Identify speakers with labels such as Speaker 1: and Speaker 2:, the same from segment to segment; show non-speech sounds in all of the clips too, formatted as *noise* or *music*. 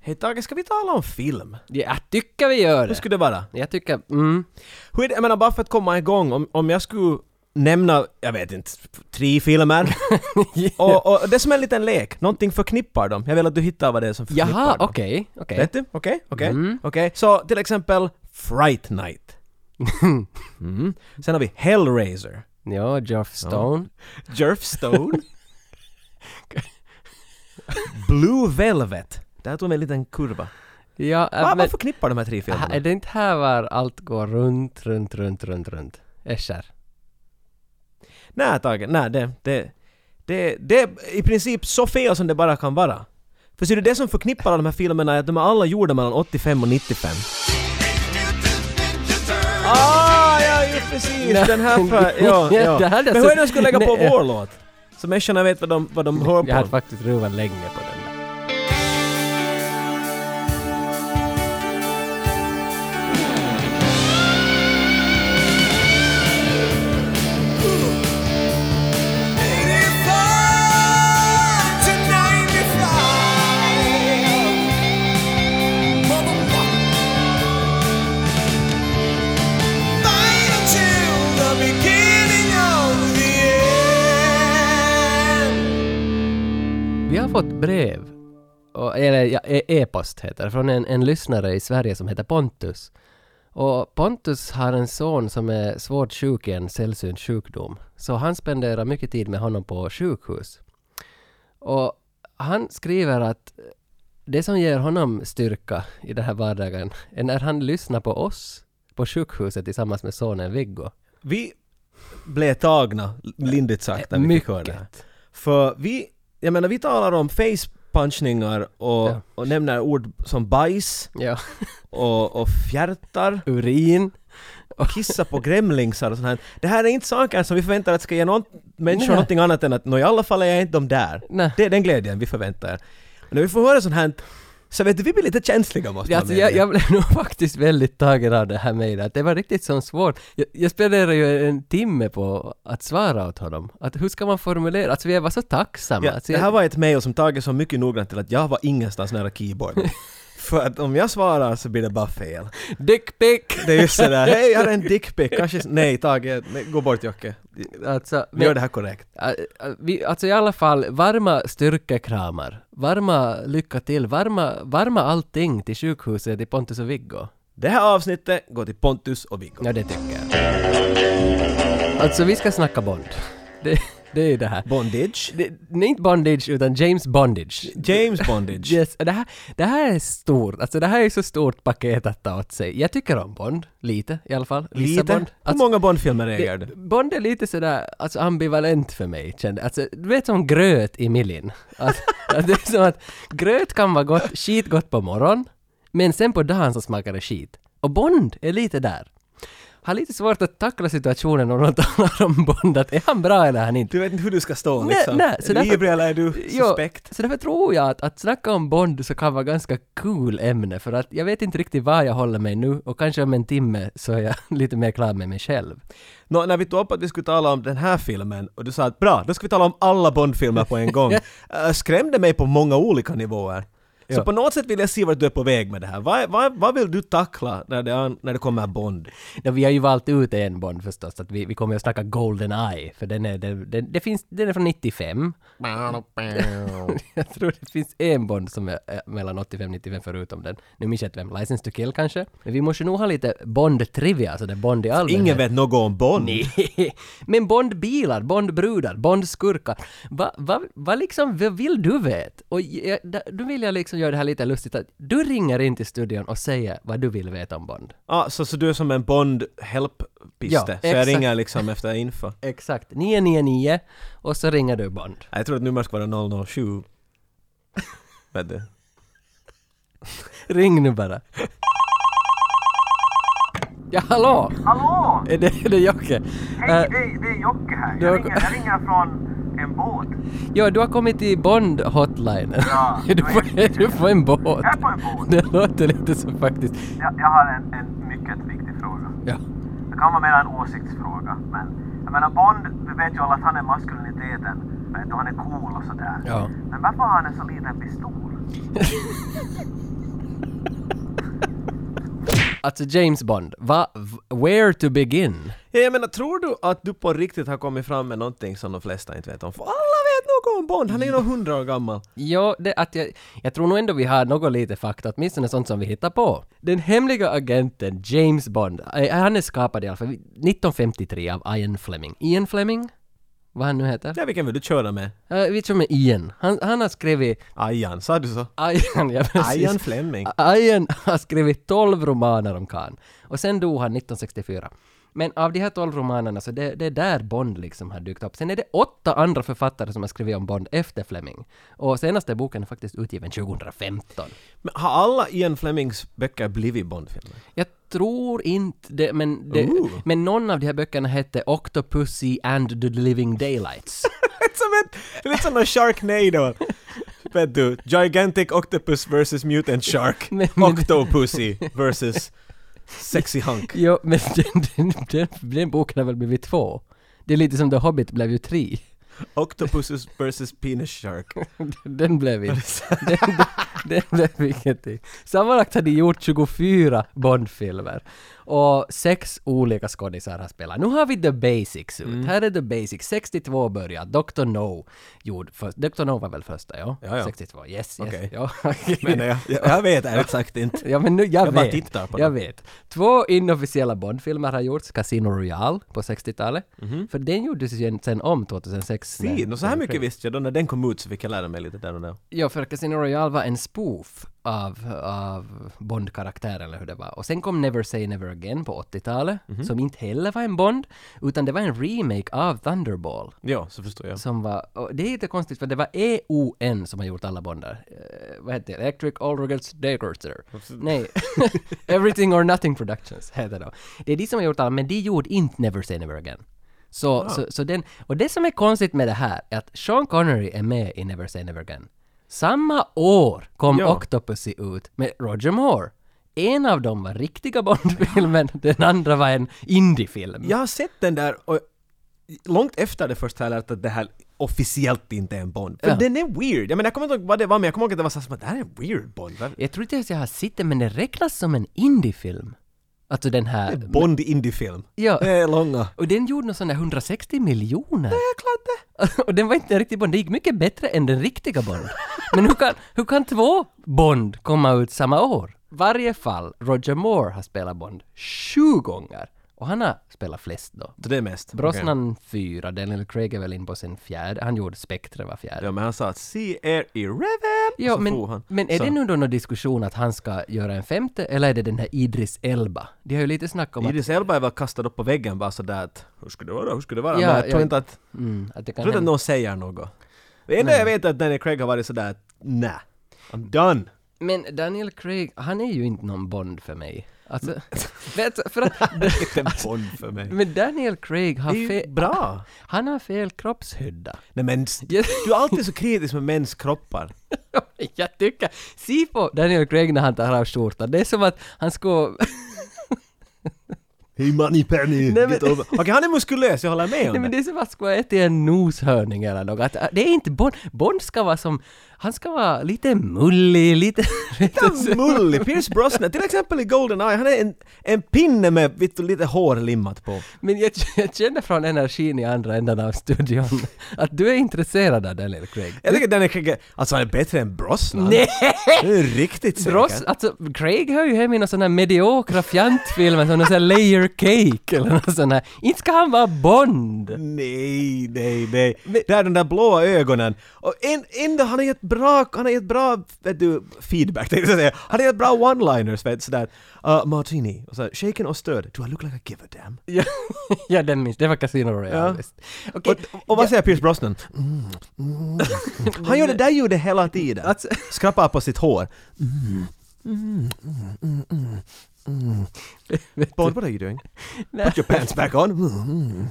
Speaker 1: Hej Tage, ska vi tala om film?
Speaker 2: Jag tycker vi gör
Speaker 1: Hur
Speaker 2: det.
Speaker 1: skulle det vara?
Speaker 2: Jag tycker, mm.
Speaker 1: Hur är det, jag menar bara för att komma igång, om, om jag skulle nämna, jag vet inte, tre
Speaker 2: *laughs*
Speaker 1: filmer och, och det är som en liten lek, någonting förknippar dem. Jag vill att du hittar vad det är som förknippar
Speaker 2: Jaha,
Speaker 1: dem.
Speaker 2: okej, okej. Mm.
Speaker 1: Vet du? Okej, okej, okej. Så till exempel Fright Night. mm. Sen har vi Hellraiser.
Speaker 2: Ja, Jeff Stone.
Speaker 1: Jerfstone. *laughs* Blue Velvet. Där tog vi en liten kurva.
Speaker 2: Ja, äh,
Speaker 1: Va,
Speaker 2: men,
Speaker 1: vad förknippar de här tre filmerna?
Speaker 2: är det inte här var allt går runt, runt, runt, runt, runt? Escher.
Speaker 1: Nej Tage, nej det, det, det, det är i princip så fel som det bara kan vara. För ser du, det som förknippar alla de här filmerna är att de är alla gjorda mellan 85 och 95. Ah, ja ju precis! Den
Speaker 2: *laughs*
Speaker 1: här för, ja, ja.
Speaker 2: Det här är
Speaker 1: Men
Speaker 2: alltså-
Speaker 1: hur är det de skulle lägga på
Speaker 2: Nej, ja.
Speaker 1: vår låt? Så människorna vet vad de, vad de hör
Speaker 2: Jag hade
Speaker 1: på.
Speaker 2: faktiskt ruvat länge på den där. Vi har fått brev, och, eller ja, e- e-post heter det, från en, en lyssnare i Sverige som heter Pontus. Och Pontus har en son som är svårt sjuk i en sällsynt sjukdom. Så han spenderar mycket tid med honom på sjukhus. Och han skriver att det som ger honom styrka i den här vardagen är när han lyssnar på oss på sjukhuset tillsammans med sonen Viggo.
Speaker 1: Vi blev tagna, lindigt sagt, när vi fick höra det här.
Speaker 2: Mycket.
Speaker 1: För vi, jag menar vi talar om facepunchningar och,
Speaker 2: Ja.
Speaker 1: och nämner ord som bajs
Speaker 2: Ja.
Speaker 1: och, och fjärtar,
Speaker 2: Urin.
Speaker 1: kissa på gremlingsar och sånt här. Det här är inte saker som vi förväntar att ska ge någon människa
Speaker 2: Nej.
Speaker 1: någonting annat än att nå i alla fall är jag inte de där.
Speaker 2: Nej.
Speaker 1: Det är den glädjen vi förväntar. Och när vi får höra sånt här så vet du, vi blir lite känsliga måste
Speaker 2: Ja, alltså,
Speaker 1: man
Speaker 2: jag,
Speaker 1: medge.
Speaker 2: jag blev *laughs* nog faktiskt väldigt tagen av det här mejlet. Det var riktigt så svårt. Jag, jag spenderade ju en timme på att svara åt honom. Att hur ska man formulera? Alltså jag var så tacksam.
Speaker 1: Ja,
Speaker 2: alltså,
Speaker 1: det
Speaker 2: jag,
Speaker 1: här var ett mejl som tagit så mycket noggrant till att jag var ingenstans nära
Speaker 2: *laughs*
Speaker 1: keyboarden. För att om jag svarar så blir det bara fel. *laughs*
Speaker 2: Dick pic!
Speaker 1: Det är just sådär, hej jag har en dickpic, kanske... Nej Tage, nej, gå bort Jocke.
Speaker 2: Alltså,
Speaker 1: Vi gör det här korrekt.
Speaker 2: Äh, äh, vi, alltså i alla fall, varma styrkekramar. Varma lycka till. Varma, varma allting till sjukhuset i Pontus och Viggo.
Speaker 1: Det här avsnittet går till Pontus och Viggo.
Speaker 2: Ja, det tycker jag. Alltså vi ska snacka Bond. Det, det är det här.
Speaker 1: Bondage.
Speaker 2: Det, nej, inte Bondage, utan James Bondage.
Speaker 1: James Bondage.
Speaker 2: Yes, det här, det här är stort, alltså det här är så stort paket att ta åt sig. Jag tycker om Bond, lite i alla fall. Vissa
Speaker 1: Lite.
Speaker 2: Bond.
Speaker 1: Hur
Speaker 2: Alltså,
Speaker 1: många Bondfilmer äger
Speaker 2: det,
Speaker 1: du?
Speaker 2: Bond är lite sådär alltså ambivalent för mig, kände Alltså, du vet som gröt i millin.
Speaker 1: *laughs*
Speaker 2: Att, att det är som att gröt kan vara gott, skitgott på morgonen, men sen på dagen så smakar det skit. Och Bond är lite där. Har lite svårt att tackla situationen om någon *laughs* talar om Bond, att är han bra eller är han inte?
Speaker 1: Du vet inte hur du ska stå
Speaker 2: Nej,
Speaker 1: liksom.
Speaker 2: nej, så därför-
Speaker 1: Livrig eller är du
Speaker 2: Jo,
Speaker 1: suspekt?
Speaker 2: Så därför tror jag att, att snacka om Bond så kan vara ganska cool ämne för att jag vet inte riktigt var jag håller mig nu och kanske om en timme så är jag *laughs* lite mer klar med mig själv.
Speaker 1: Nå, när vi tog upp att vi skulle tala om den här filmen och du sa att bra, då ska vi tala om alla Bondfilmer på en *laughs* gång. Äh, skrämde mig på många olika nivåer. Så
Speaker 2: Ja.
Speaker 1: på något sätt vill jag se vart du är på väg med det här. Vad, vad, vad vill du tackla när det, an- när det kommer Bond?
Speaker 2: Då vi har ju valt ut en Bond förstås, att vi, vi kommer att snacka Golden Eye för den är, den, den, det finns, den är från 95. *laughs* jag tror det finns en Bond som är eh, mellan 85 och 95 förutom den. Nu minns jag inte vem, License to Kill kanske? Men vi måste nog ha lite Bond-trivia, så det är Bond i allmänhet.
Speaker 1: Ingen vet något om Bond.
Speaker 2: Nej. Men Bondbilar, Bondbrudar, Bondskurkar. Vad va, va liksom, vad vill du vet? Och jag, da- då vill jag liksom göra det här lite lustigt att du ringer in till studion och säger vad du vill veta om Bond.
Speaker 1: Ah, så, så du är som en Bond-help-piste?
Speaker 2: Ja,
Speaker 1: så jag
Speaker 2: exakt.
Speaker 1: ringer liksom efter info?
Speaker 2: Exakt, 999 och så ringer du Bond.
Speaker 1: Nej, Jag tror att numret ska vara *laughs* 007. Vet du?
Speaker 2: Ring nu bara. Ja, hallå!
Speaker 3: Hallå!
Speaker 2: Är det, är det Jocke?
Speaker 3: Hej,
Speaker 2: Eh,
Speaker 3: det, är- det är Jocke här.
Speaker 2: du har-
Speaker 3: Jag ringer, jag ringer från en båt.
Speaker 2: ja, du har kommit till Bond hotline.
Speaker 3: Ja,
Speaker 2: är, *laughs* du på, är du på en båt?
Speaker 3: Jag är på en båt.
Speaker 2: Det låter lite som faktiskt...
Speaker 3: Jag, jag har en, en mycket viktig fråga.
Speaker 2: Ja.
Speaker 3: Det kan vara mer en åsiktsfråga. Men jag menar Bond, vi vet ju alla att han är maskuliniteten. Vet du, han är cool och sådär.
Speaker 2: Ja.
Speaker 3: Men varför har han en så liten pistol?
Speaker 2: alltså James Bond, va, v- where to begin?
Speaker 1: Ja, jag menar, tror du att du på riktigt har kommit fram med någonting som de flesta inte vet om? För alla vet något om Bond, han är ju nog hundra år gammal.
Speaker 2: Jo, det, att jag, jag tror nog ändå vi har något lite fakta, åtminstone sånt som vi hittar på. Den hemliga agenten James Bond, eh, han är skapad i alla fall 1953 av Ian Fleming. Ian Fleming? Vad han nu heter?
Speaker 1: Ja, vilken vill du köra med?
Speaker 2: Eh, vi kör med Ian. Han, han har skrivit...
Speaker 1: Ajan, sa du så?
Speaker 2: Ian, ja precis.
Speaker 1: Ajan Fleming.
Speaker 2: Ian har skrivit 12 romaner om Khan. Och sen dog han 1964. Men av de här 12 romanerna så det, det är där Bond liksom har dykt upp. Sen är det åtta andra författare som har skrivit om Bond efter Fleming. Och senaste boken är faktiskt utgiven 2015.
Speaker 1: Men har alla Ian Flemings böcker blivit Bondfilmer?
Speaker 2: Jag tror inte det, men, det,
Speaker 1: Ooh.
Speaker 2: men någon av de här böckerna hette Octopussy and the Living Daylights. *laughs*
Speaker 1: Lite som ett, det är lite som någon Sharknado. Vet du, Gigantic Octopus versus Mutant *laughs* Shark.
Speaker 2: Men- men-
Speaker 1: Octopussy versus Sexy Hunk.
Speaker 2: jo, men den, den, den, den boken har väl blivit två? Det är lite som The Hobbit blev ju tre.
Speaker 1: Octopus versus Penis Shark.
Speaker 2: Den blev inte. den, *laughs* den, den blev ingenting. Sammanlagt har de gjort 24 Bondfilmer. Och sex olika skådisar har spelat. Nu har vi The Basics ut.
Speaker 1: Mm.
Speaker 2: Här är The Basics. 62 börjar. Dr. No gjord först. Dr. No var väl första, ja?
Speaker 1: Ja, ja.
Speaker 2: 62. Yes, yes.
Speaker 1: Okej.
Speaker 2: Ja,
Speaker 1: *laughs* Men jag, jag, jag vet ärligt sagt inte.
Speaker 2: *laughs* Ja men nu, jag,
Speaker 1: Jag bara
Speaker 2: vet.
Speaker 1: tittar på
Speaker 2: jag
Speaker 1: det.
Speaker 2: vet. Två inofficiella Bondfilmer har gjorts, Casino Royale på 60-talet. För den gjordes ju sen om 2006. när-
Speaker 1: Mhm. Fin, och så här mycket visste jag då när den kom ut så fick jag lära mig lite där och där.
Speaker 2: Ja, för Casino Royale var en spoof av, av Bond-karaktär eller hur det var. Och sen kom Never Say Never Again på 80-talet, som inte heller var en Bond, utan det var en remake av Thunderball.
Speaker 1: Ja, så förstår jag.
Speaker 2: Som var, och det är lite konstigt för det var EON som har gjort alla Bondar. Eh, vad heter det? Electric All Regards Decorator. Nej. *laughs* Everything or Nothing Productions heter det. Det är de som har gjort alla, men de gjorde inte Never Say Never Again. Så, så, så den, och det som är konstigt med det här är att Sean Connery är med i Never Say Never Again. Samma år kom
Speaker 1: Ja.
Speaker 2: Octopussy ut med Roger Moore. En av dem var riktiga Bond-filmen, den andra var en indie-film.
Speaker 1: Jag har sett den där och långt efter det första har jag lärt att det här officiellt inte är en Bond. För
Speaker 2: Ja.
Speaker 1: den är weird. Jag menar jag kommer inte ihåg vad det var men jag kommer ihåg att det var så här som att det här är en weird Bond. Va?
Speaker 2: Jag tror inte ens jag har sett den, men den räknas som en indiefilm. Alltså den här...
Speaker 1: Bond indiefilm.
Speaker 2: Ja.
Speaker 1: Det är långa.
Speaker 2: Och den gjorde någon sån där 160 miljoner. *laughs* Nej, jag klarade Och den var inte en riktig Bond. Det gick mycket bättre än den riktiga Bond. Men hur kan, hur kan två Bond komma ut samma år? Varje fall, Roger Moore har spelat Bond sju gånger. Och han har spelat flest då.
Speaker 1: Så det är mest. Okej.
Speaker 2: Brosnan fyra, Daniel Craig är väl in på sin fjärde. Han gjorde Spectre var fjärde.
Speaker 1: Ja men han sa att se er i Reven!
Speaker 2: Ja,
Speaker 1: så for
Speaker 2: men,
Speaker 1: han.
Speaker 2: men är
Speaker 1: så.
Speaker 2: det nu då någon diskussion att han ska göra en femte, eller är det den här Idris Elba? De har ju lite snack om att,
Speaker 1: Idris Elba är väl kastad upp på väggen bara sådär att hur skulle det vara, hur skulle det vara?
Speaker 2: Ja,
Speaker 1: men jag tror
Speaker 2: ja.
Speaker 1: inte att,
Speaker 2: mm, att det
Speaker 1: jag
Speaker 2: kan
Speaker 1: tror inte att
Speaker 2: hända.
Speaker 1: någon säger något. Det enda jag vet är att Daniel Craig har varit sådär att nä, I'm done.
Speaker 2: Men Daniel Craig, han är ju inte någon Bond för mig. Alltså,
Speaker 1: Mm.
Speaker 2: *laughs* vet, för att, *laughs*
Speaker 1: Inte en Bond för mig.
Speaker 2: men Daniel Craig har
Speaker 1: Det är ju
Speaker 2: fel,
Speaker 1: bra!
Speaker 2: han har
Speaker 1: *laughs*
Speaker 2: fel kroppshydda.
Speaker 1: Nej men, s- du är alltid så kritisk med mäns kroppar.
Speaker 2: Jag tycker, se på Daniel Craig när han tar av skjortan, det är som att han skulle
Speaker 1: Hej money penny!
Speaker 2: Nej, men-
Speaker 1: Get over. Okej, han är muskulös, jag håller med om
Speaker 2: *laughs* Nej men
Speaker 1: det.
Speaker 2: det är som att ska äta en noshörning eller något. Att, äh, Det är inte Bond. Bond ska vara som... Han ska vara lite mullig, lite... *laughs*
Speaker 1: Titta mullig! Pierce Brosnan, till exempel i Goldeneye, han är en, en pinne med vet du, lite hår limmat på.
Speaker 2: men jag, jag känner från energin i andra änden av studion att du är intresserad av Daniel Craig.
Speaker 1: Jag tycker den är Craig, alltså han är bättre än Brosnan.
Speaker 2: Nej!
Speaker 1: Det är riktigt säkert.
Speaker 2: Ross, alltså Craig hör ju hem i någon sån här mediokra fjantfilmer som någon sån här layer cake eller något sån här. Inte ska han vara Bond!
Speaker 1: Nej, nej, nej. Där de där blåa ögonen. Och en, ändå, han har gett bra, han har gett bra, vet du, feedback tänkte jag säga. Han har gett bra one-liners, vet sådär. Uh, martini, och så shaken och stirred. Do I look like I give a damn?
Speaker 2: Ja, ja den minns, det var Casino Royale
Speaker 1: Ja.
Speaker 2: visst. Okej,
Speaker 1: Och, och vad säger Pierce Brosnan? Mm, mm. Han gör det där ljudet hela tiden.
Speaker 2: alltså,
Speaker 1: Skrappar på sitt hår.
Speaker 2: vet
Speaker 1: Bond, what are you doing?
Speaker 2: Nej.
Speaker 1: Put your pants back on. Mm.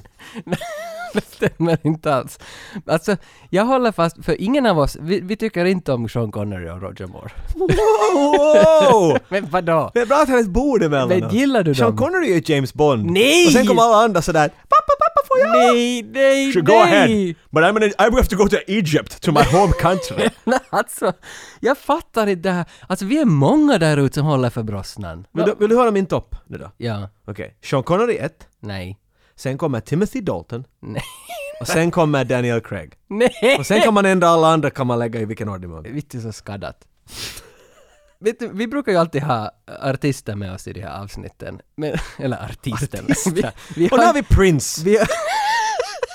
Speaker 2: Det stämmer inte alls. Alltså, jag håller fast, för ingen av oss, vi, vi tycker inte om Sean Connery och Roger Moore.
Speaker 1: Wow!
Speaker 2: Men vadå?
Speaker 1: *laughs* Det är bra att han har ett bord emellan
Speaker 2: Men gillar du
Speaker 1: Sean
Speaker 2: dem?
Speaker 1: Connery är James Bond.
Speaker 2: Nej!
Speaker 1: Och sen kommer alla andra sådär pappa, pappa, får jag?
Speaker 2: Nej, nej,
Speaker 1: Sure,
Speaker 2: nej!
Speaker 1: go ahead. But I'm gonna, I have to go to Egypt, to my home
Speaker 2: *laughs*
Speaker 1: country.
Speaker 2: Nej, alltså, jag fattar inte det här. Alltså vi är många där ute som håller för Brosnan.
Speaker 1: vill, du, vill du höra min topp nu då?
Speaker 2: Ja,
Speaker 1: Okej. Sean Connery 1,
Speaker 2: nej,
Speaker 1: sen kommer Timothy Dalton
Speaker 2: nej,
Speaker 1: och sen kommer Daniel Craig.
Speaker 2: nej!
Speaker 1: Och sen kan man ändra alla andra kan man lägga i vilken ordning man vill.
Speaker 2: Vitt det är så skaddat. Vet du, vi brukar ju alltid ha artister med oss i de här avsnitten. Men, eller artister. Vi, vi
Speaker 1: Och nu har vi
Speaker 2: vi,
Speaker 1: Prince!
Speaker 2: vi,
Speaker 1: *laughs*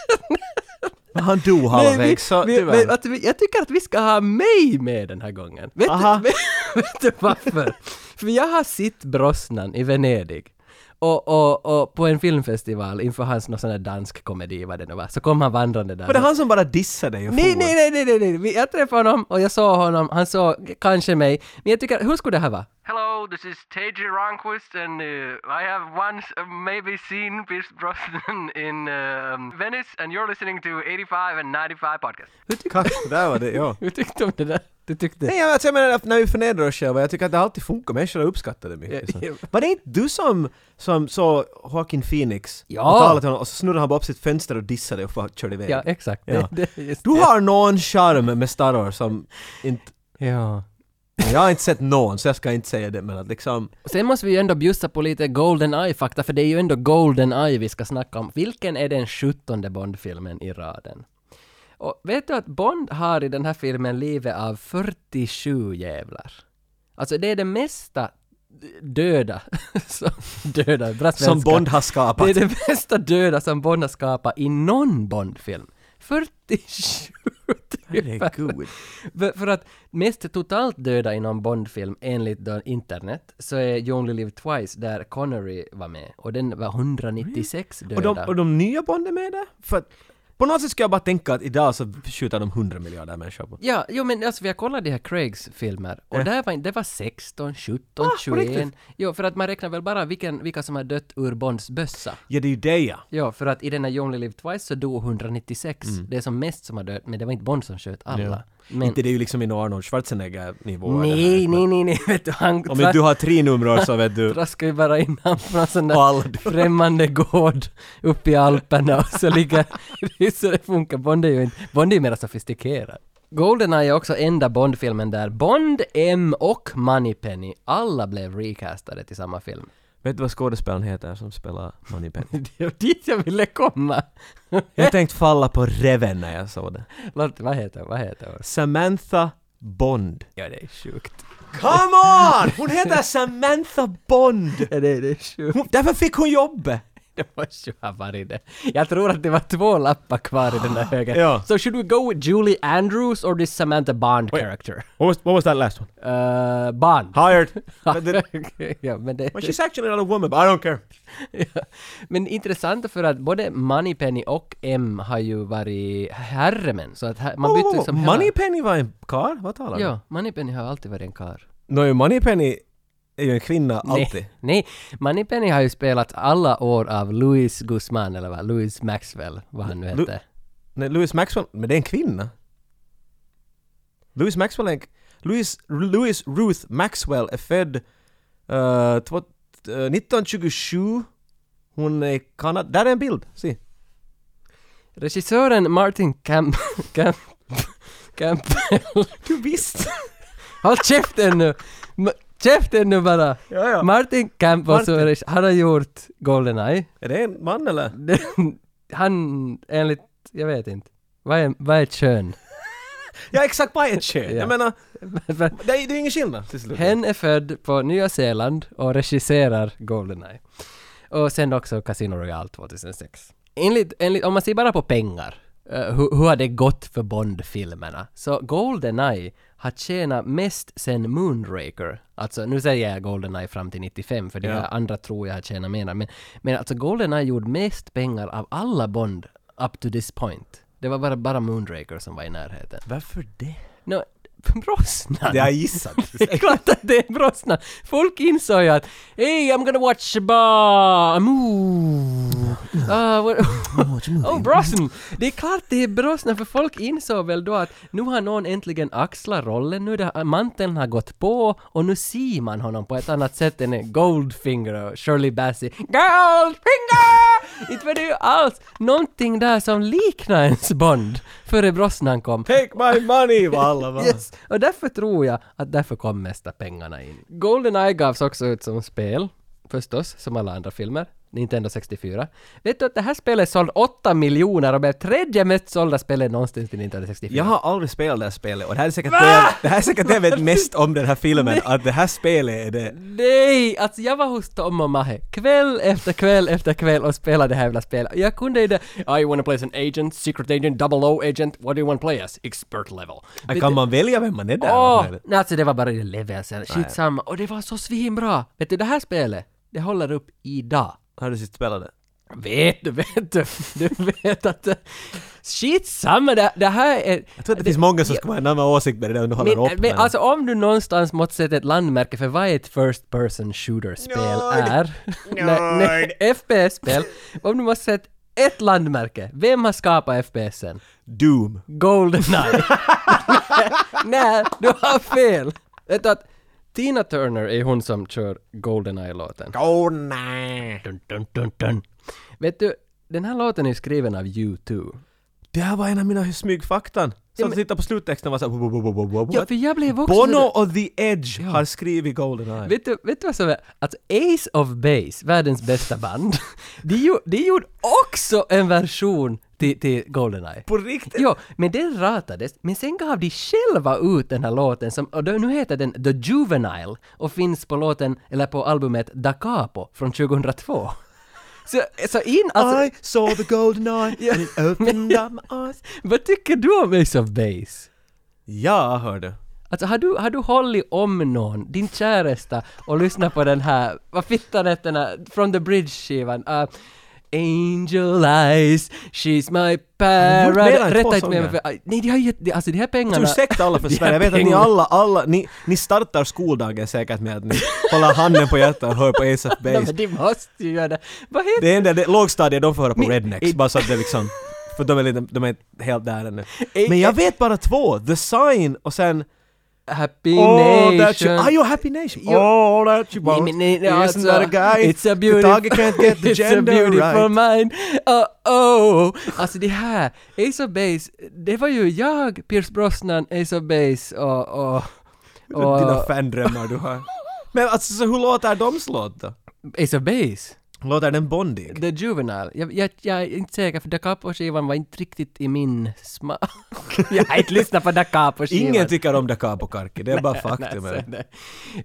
Speaker 1: Men han dog
Speaker 2: nej, vi,
Speaker 1: halvvägs så
Speaker 2: vi,
Speaker 1: tyvärr.
Speaker 2: men att vi, jag tycker att vi ska ha mig med den här gången. Vet,
Speaker 1: Aha.
Speaker 2: du, vet du varför? För jag har sett Brosnan i Venedig. Och, och, och på en filmfestival inför hans någon sån där dansk komedi, vad det nu var, så kom han vandrande där.
Speaker 1: Var det han som bara dissade dig och
Speaker 2: Nej,
Speaker 1: for?
Speaker 2: nej, nej, nej, nej, nej. Vi- Jag träffade honom och jag såg honom, han såg kanske mig. Men jag tycker, hur skulle det här vara? Hello, this is T.J. Ronquist and uh, I have once maybe seen Pierce Brosnan *laughs* in um, Venice and you're listening to 85 and 95 podcast. Hur, tyck-
Speaker 1: Kack, där var det, ja.
Speaker 2: hur tyckte du om det där? Du tyckte?
Speaker 1: Nej, jag- alltså, jag menar att när vi förnedrar oss själva, jag tycker att det alltid funkar, människor uppskattar det mycket.
Speaker 2: Ja, ja.
Speaker 1: Så. Var det inte du som, som så Joaquin Phoenix
Speaker 2: Ja.
Speaker 1: och talade till honom och så snurrade han bara upp sitt fönster och dissade och far- körde iväg?
Speaker 2: Ja, exakt.
Speaker 1: Ja.
Speaker 2: Det, det, är just
Speaker 1: Du har någon charm med Star Wars som inte...
Speaker 2: det. Ja.
Speaker 1: Jag har inte sett någon, så jag ska inte säga det, men att liksom...
Speaker 2: Sen måste vi ju ändå bjussa på lite Golden Eye-fakta, för det är ju ändå Golden Eye vi ska snacka om. Vilken är den sjuttonde Bond-filmen i raden? Och vet du att Bond har i den här filmen livet av 47 jävlar. Alltså det är det mesta döda, *laughs* som, döda, bra
Speaker 1: Som
Speaker 2: svenska.
Speaker 1: Bond har skapat.
Speaker 2: Det är det mesta döda som Bond har skapat i någon Bond-film. 47 typer.
Speaker 1: Herregud.
Speaker 2: För, för att mest totalt döda i någon Bondfilm enligt då internet så är You Only Live Twice där Connery var med och den var 196
Speaker 1: Och
Speaker 2: döda.
Speaker 1: de, och de nya Bond är med där? För att, på något sätt ska jag bara tänka att idag så skjuter de 100 miljarder människor på.
Speaker 2: Ja, jo men alltså vi har kollat de här Craigs filmer och där var, det var 16, 17,
Speaker 1: Eh. Ah, på
Speaker 2: 21.
Speaker 1: riktigt?
Speaker 2: Jo, för att man räknar väl bara vilken, vilka som har dött ur Bonds bössa.
Speaker 1: Ja, det är ju det ja.
Speaker 2: Ja, för att i den här You Only Live Twice så dog 196. Det är som mest som har dött, men det var inte Bond som sköt alla.
Speaker 1: Ja.
Speaker 2: Men,
Speaker 1: Mm. Inte det är ju liksom en Arnold Schwarzenegger-nivå.
Speaker 2: nej, nej, nej, *laughs* nej, vet du, han
Speaker 1: Om inte du har tre nummer så vet du.
Speaker 2: traskar ju bara in han *laughs* från sån där
Speaker 1: All-
Speaker 2: främmande gård uppe i Alperna och så ligger... *laughs* Det är så det funkar. Bond är ju inte... Bond är ju mera sofistikerad. Goldeneye är också enda Bond-filmen där Bond, M och Moneypenny alla blev recastade till samma film.
Speaker 1: *laughs*
Speaker 2: *laughs*
Speaker 1: Vet du vad skådespelaren heter som spelar Moneypenny?
Speaker 2: Det var dit jag ville komma! *laughs*
Speaker 1: Jag tänkte falla på reven när jag såg det.
Speaker 2: Lotte, vad heter hon? Vad heter hon?
Speaker 1: Samantha Bond.
Speaker 2: Ja, det är sjukt.
Speaker 1: Come on! Hon heter Samantha Bond!
Speaker 2: Ja, det, det är *laughs* sjukt.
Speaker 1: Hon, därför fick hon jobbet!
Speaker 2: Det måste ju ha varit det. Jag tror att det var två lappar kvar i den där högen.
Speaker 1: Ja.
Speaker 2: So should we go with Julie Andrews or this Samantha Bond
Speaker 1: Wait.
Speaker 2: character?
Speaker 1: What was, what was that last one?
Speaker 2: Uh, Bond.
Speaker 1: Hired! But the-
Speaker 2: *laughs* Okej, ja, men, det,
Speaker 1: Well, she's actually not a woman, but I don't care.
Speaker 2: *laughs* ja. men intressant för att både Moneypenny och M har ju varit herremän. Så att här, man
Speaker 1: Wow,
Speaker 2: bytte
Speaker 1: wow, wow.
Speaker 2: liksom hela...
Speaker 1: Moneypenny var en karl? Vad talar du om?
Speaker 2: Ja, Moneypenny har alltid varit en karl.
Speaker 1: Nåjo, Moneypenny är ju en kvinna alltid.
Speaker 2: Nej, nej, Moneypenny har ju spelat alla år av Louis Guzman, eller vad? Louis Maxwell, vad han nu
Speaker 1: Lu-
Speaker 2: hette.
Speaker 1: Nej, Louis Maxwell, men det är en kvinna. Louis Maxwell är en... Louis, Louis Ruth Maxwell är född eh, två, eh, 1927. Hon är i Kanada. Där är en bild, se.
Speaker 2: Regissören Martin Camp... *laughs* Camp... Campbell...
Speaker 1: Du visst!
Speaker 2: *laughs* Håll käften nu! Ma- Käften nu bara!
Speaker 1: ja, ja.
Speaker 2: Martin Campbell, som är
Speaker 1: Martin.
Speaker 2: regi- han har gjort Goldeneye.
Speaker 1: är det en man eller?
Speaker 2: Den- *laughs* han, enligt, jag vet inte. Vad är, vad är ett kön?
Speaker 1: Ja, exakt vad är ett kön?
Speaker 2: Ja.
Speaker 1: Jag menar, det är, det är ingen skillnad till slut.
Speaker 2: Hen är född på Nya Zeeland och regisserar Goldeneye. Och sen också Casino Royale 2006. Enligt, enligt, om man ser bara på pengar, eh, hur, hur har det gått för Bond-filmerna? Så Goldeneye har tjänat mest sen Moonraker. Alltså, nu säger jag Goldeneye fram till 95, för det
Speaker 1: Ja.
Speaker 2: här andra tror jag har tjänat mer. Men, men alltså Goldeneye gjorde mest pengar av alla Bond up to this point. Det var bara, bara Moonraker som var i närheten.
Speaker 1: Varför det?
Speaker 2: Nå, *laughs* Brosnan!
Speaker 1: Det har jag gissat.
Speaker 2: Det är *laughs* klart att det är Brosnan. Folk insåg ju att Hey, I'm gonna watch a bar, a movie. Ah, what,
Speaker 1: Åh, Timothy.
Speaker 2: oh, Brosnan! Det är klart det är Brosnan, för folk insåg väl då att nu har någon äntligen axlat rollen, nu det, manteln har gått på och nu ser man honom på ett annat sätt än en Goldfinger och Shirley Bassey. Goldfinger! Inte var det ju alls någonting där som liknar ens Bond före Brosnan kom.
Speaker 1: Take my money var alla va?
Speaker 2: Yes. Och därför tror jag att därför kom mesta pengarna in. Goldeneye gavs också ut som spel, förstås, som alla andra filmer. Nintendo 64. Vet du att det här spelet sålde 8 miljoner och blev tredje mest sålda spelet någonsin till Nintendo 64.
Speaker 1: Jag har aldrig spelat det här spelet och det här är säkert det, jag- det här är säkert det jag vet mest om den här filmen, att det här spelet är det.
Speaker 2: Nej! Alltså jag var hos Tom och Mahe kväll efter kväll efter kväll och spelade det här jävla spelet. Jag kunde ju det... I wanna play as an agent, secret agent, double O agent, what do you wanna play as? Expert level. Vet
Speaker 1: Kan
Speaker 2: du-
Speaker 1: man välja vem man är där?
Speaker 2: Åh! Nej, alltså det var bara det level sen. Skitsamma. Och det var så svinbra! Vet du, det här spelet, det håller upp idag.
Speaker 1: Har du sist spelat det?
Speaker 2: Vet du, vet du, du vet att... eh, Skitsamma, det, det här är...
Speaker 1: Jag tror att det, finns många som skulle ha en annan åsikt med det där om du håller upp.
Speaker 2: men, alltså om du någonstans måste sätta ett landmärke för vad ett first person shooter-spel
Speaker 1: Nörd.
Speaker 2: är... Nej, nej, FPS-spel. Om du måste sätta ett landmärke, vem har skapat FPSen?
Speaker 1: Doom.
Speaker 2: Goldeneye. *laughs* Nej, du har fel. Vet du att Tina Turner är hon som kör Goldeneye-låten.
Speaker 1: Goldeneye.
Speaker 2: Dun, dun, dun, dun. Vet du, den här låten är skriven av U2.
Speaker 1: Det här var en av mina smygfaktan. Så att titta på sluttexten och var såhär... wo- wo- wo- wo- wo- wo-
Speaker 2: Ja, för jag blev också...
Speaker 1: Bono och The Edge har skrivit Goldeneye.
Speaker 2: Vet du, vet du vad som är? Alltså Ace of Base, världens bästa band, *laughs* de, gjo- de gjorde också en version till, till Goldeneye.
Speaker 1: På riktigt?
Speaker 2: Jo, men den ratades, men sen gav de själva ut den här låten som, och då, nu heter den The Juvenile och finns på låten, eller på albumet Da Capo från 2002. *laughs* Så, så in, alltså,
Speaker 1: I saw the golden eye and it opened
Speaker 2: *laughs*
Speaker 1: up my eyes.
Speaker 2: vad tycker du om Ace of Base?
Speaker 1: Ja, hörde.
Speaker 2: Alltså har du, har du hållit om någon, din käresta, och lyssnat på den här, vad fittan hette den här, From the Bridge-skivan? Uh, Angel eyes, she's my
Speaker 1: gjort mer än
Speaker 2: paradise.
Speaker 1: två
Speaker 2: Rätta inte
Speaker 1: sånger.
Speaker 2: mig för... aj, Nej, de har gett... de- Alltså de här pengarna...
Speaker 1: Ursäkta alla för
Speaker 2: *laughs* de här
Speaker 1: Sverige, jag vet att ni
Speaker 2: pengarna-
Speaker 1: alla, alla, ni, ni startar skoldagen säkert med att ni håller handen på hjärtat och hör på Ace of
Speaker 2: Nej,
Speaker 1: Base.
Speaker 2: men *laughs* de måste ju göra det. Vad heter
Speaker 1: Det enda, det, lågstadiet, de får höra på
Speaker 2: Men-
Speaker 1: Rednecks,
Speaker 2: i-
Speaker 1: bara så att det liksom... För de är, lite, de är inte helt där ännu. Men jag vet bara två, The Sign och sen...
Speaker 2: Happy
Speaker 1: Oh, that you...
Speaker 2: Nation?
Speaker 1: Are you happy nation?
Speaker 2: Jo.
Speaker 1: Oh, that you
Speaker 2: Nej,
Speaker 1: want.
Speaker 2: men nej, nej,
Speaker 1: Isn't
Speaker 2: alltså,
Speaker 1: that a guy?
Speaker 2: It's a
Speaker 1: The
Speaker 2: beautiful,
Speaker 1: target can't get the
Speaker 2: *laughs* it's a
Speaker 1: gender
Speaker 2: beautiful
Speaker 1: right.
Speaker 2: mind. Oh, oh. Alltså det här, Ace of Base, det var ju jag, Pierce Brosnan, Ace of Base och... och,
Speaker 1: Dina
Speaker 2: och
Speaker 1: fandrömmar du har. Men alltså, så hur låter de slåt då?
Speaker 2: Ace of Base,
Speaker 1: Låter den bondig?
Speaker 2: The Juvenile. Jag, jag, jag är inte säker för Da Capo-skivan var inte riktigt i min smak. *laughs* jag har inte lyssnat på Da Capo-skivan.
Speaker 1: Ingen tycker om Da Capo Karki, det är bara faktum.
Speaker 2: *laughs* Nej,
Speaker 1: eller?
Speaker 2: så är det.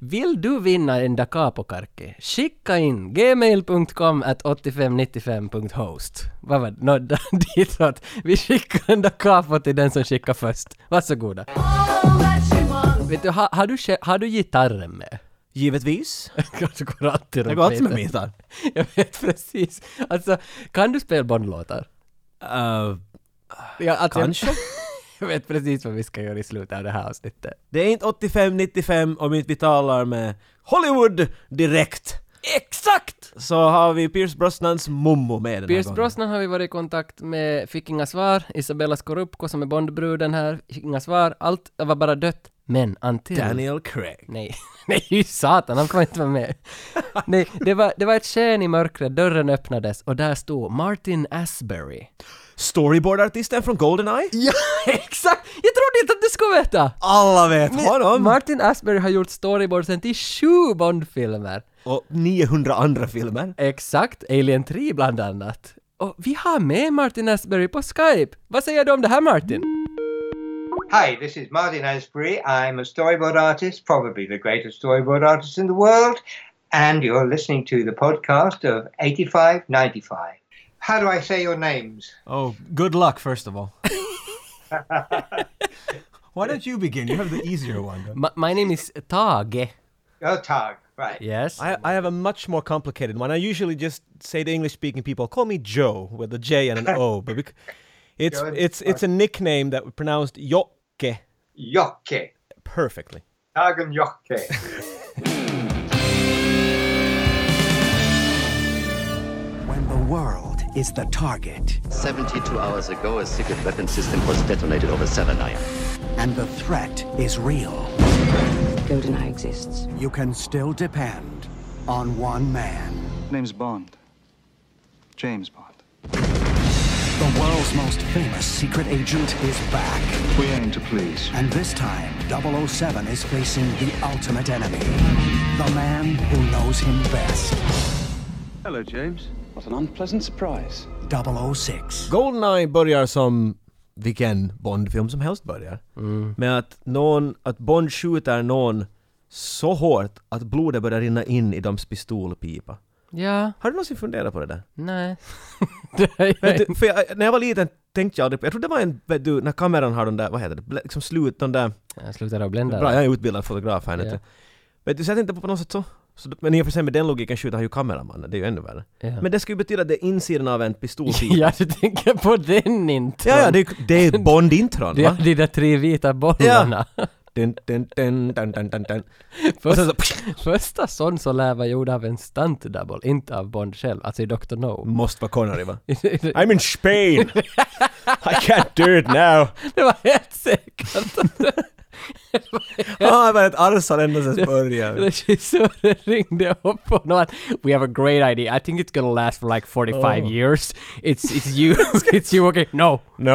Speaker 2: Vill du vinna en Da Capo-karke? Skicka in gmail.com at 8595.host. Vad var det? Nå, *laughs* d- ditåt. Vi skickar en Da Capo till den som skickar först. Varsågoda. Vet du, har, har, du, ske- har du gitarren med? *laughs*
Speaker 1: Givetvis.
Speaker 2: Kanske går alltid
Speaker 1: Jag
Speaker 2: runt
Speaker 1: går alltid med
Speaker 2: lite.
Speaker 1: min gitarr.
Speaker 2: *laughs* Jag vet precis. Alltså, kan du spela Bond-låtar?
Speaker 1: Eh,
Speaker 2: Ja, alltså, jag-
Speaker 1: Kanske.
Speaker 2: Jag vet precis vad vi ska göra i slutet av det här avsnittet.
Speaker 1: Det är inte 85-95 om inte vi talar med Hollywood direkt.
Speaker 2: Exakt!
Speaker 1: Så har vi Pierce Brosnans mommo med den här
Speaker 2: Pierce
Speaker 1: gången.
Speaker 2: Brosnan har vi varit i kontakt med, fick inga svar. Isabella Scorupco som är Bondbruden här, fick inga svar. Allt var bara dött. Men Antil...
Speaker 1: Daniel Craig.
Speaker 2: Nej, *laughs* nej satan, han får inte vara med. nej, det var, det var ett sken i mörkret, dörren öppnades och där stod Martin Asbury.
Speaker 1: Storyboardartisten från Goldeneye.
Speaker 2: Ja, *laughs* exakt! Jag trodde inte att du skulle veta!
Speaker 1: Alla vet honom!
Speaker 2: Martin Asbury har gjort storyboardsen till sju Bondfilmer.
Speaker 1: Och 900 andra filmer.
Speaker 2: Exakt, Alien 3 bland annat. Och vi har med Martin Asbury på Skype. Vad säger du om det här Martin?
Speaker 4: Hi, this is Martin Asbury. I'm a storyboard artist, probably the greatest storyboard artist in the world, and you're listening to the podcast of 8595. How do I say your names?
Speaker 1: Oh, good luck first
Speaker 2: *laughs*
Speaker 1: of all. Why don't you begin? You have the easier one.
Speaker 2: My, my name is Tage.
Speaker 4: Oh, Tag, right.
Speaker 2: Yes.
Speaker 1: I, I have a much more complicated one. I usually just say to English-speaking people, "Call me Joe" with a J and an O, but bec- it's
Speaker 4: Joe.
Speaker 1: it's it's a nickname that we pronounced Jokke
Speaker 4: Jokke.
Speaker 1: perfectly.
Speaker 4: Tag and Jokke.
Speaker 5: When the world is the target,
Speaker 6: 72 hours ago, a secret weapon system was detonated over Serenaya.
Speaker 5: and the threat is real.
Speaker 7: GoldenEye exists.
Speaker 5: You can still depend on one man.
Speaker 8: Name's Bond. James Bond.
Speaker 5: The world's most famous secret agent is back.
Speaker 8: We aim to please.
Speaker 5: And this time, 007 is facing the ultimate enemy the man who knows him best.
Speaker 8: Hello, James.
Speaker 9: What an unpleasant surprise.
Speaker 5: 006.
Speaker 1: Goldeneye börjar som vilken Bondfilm som helst börjar. Med att någon, att Bond skjuter någon så hårt att blodet börjar rinna in i deras pistolpipa.
Speaker 2: Ja,
Speaker 1: Har du någonsin funderat på det där?
Speaker 2: nej. *laughs* det är jag
Speaker 1: Vet
Speaker 2: inte.
Speaker 1: du, för jag, när jag var liten tänkte jag aldrig på, jag tror det var en, vet du, när kameran har de där, vad heter det, bl- liksom slut, de där,
Speaker 2: Jag slutar att blända.
Speaker 1: bra jag är utbildad fotograf här nu.
Speaker 2: Ja.
Speaker 1: Vet du, så jag tänkte på något sätt så. så men i och för sig med den logiken skjuter han ju kameramannen, det är ju ännu värre.
Speaker 2: Ja.
Speaker 1: Men det skulle ju betyda att det är insidan av en pistolpipa.
Speaker 2: *laughs* *laughs* ja, du tänker på den inte.
Speaker 1: ja, ja, det är, ju- det
Speaker 2: *laughs*
Speaker 1: är Bond-intron
Speaker 2: de,
Speaker 1: va?
Speaker 2: de där tre vita bollarna. *laughs*
Speaker 1: Dun, dun, dun, dun, dun, dun, dun. Och sen
Speaker 2: Första,
Speaker 1: så,
Speaker 2: första sån så lär vara gjord av en stunt double, inte av Bond själv, alltså i Dr. No.
Speaker 1: måste vara Connery va? I'm in Spain! I can't do it now!
Speaker 2: *laughs* det var helt säkert.
Speaker 1: Han Ah, har varit argsad ända sedan början.
Speaker 2: Regissören ringde upp honom att “We have a great idea, I think it's gonna last for like 45
Speaker 1: Oh.
Speaker 2: years. It's, it's you, *laughs* it's you okay? No!” *laughs*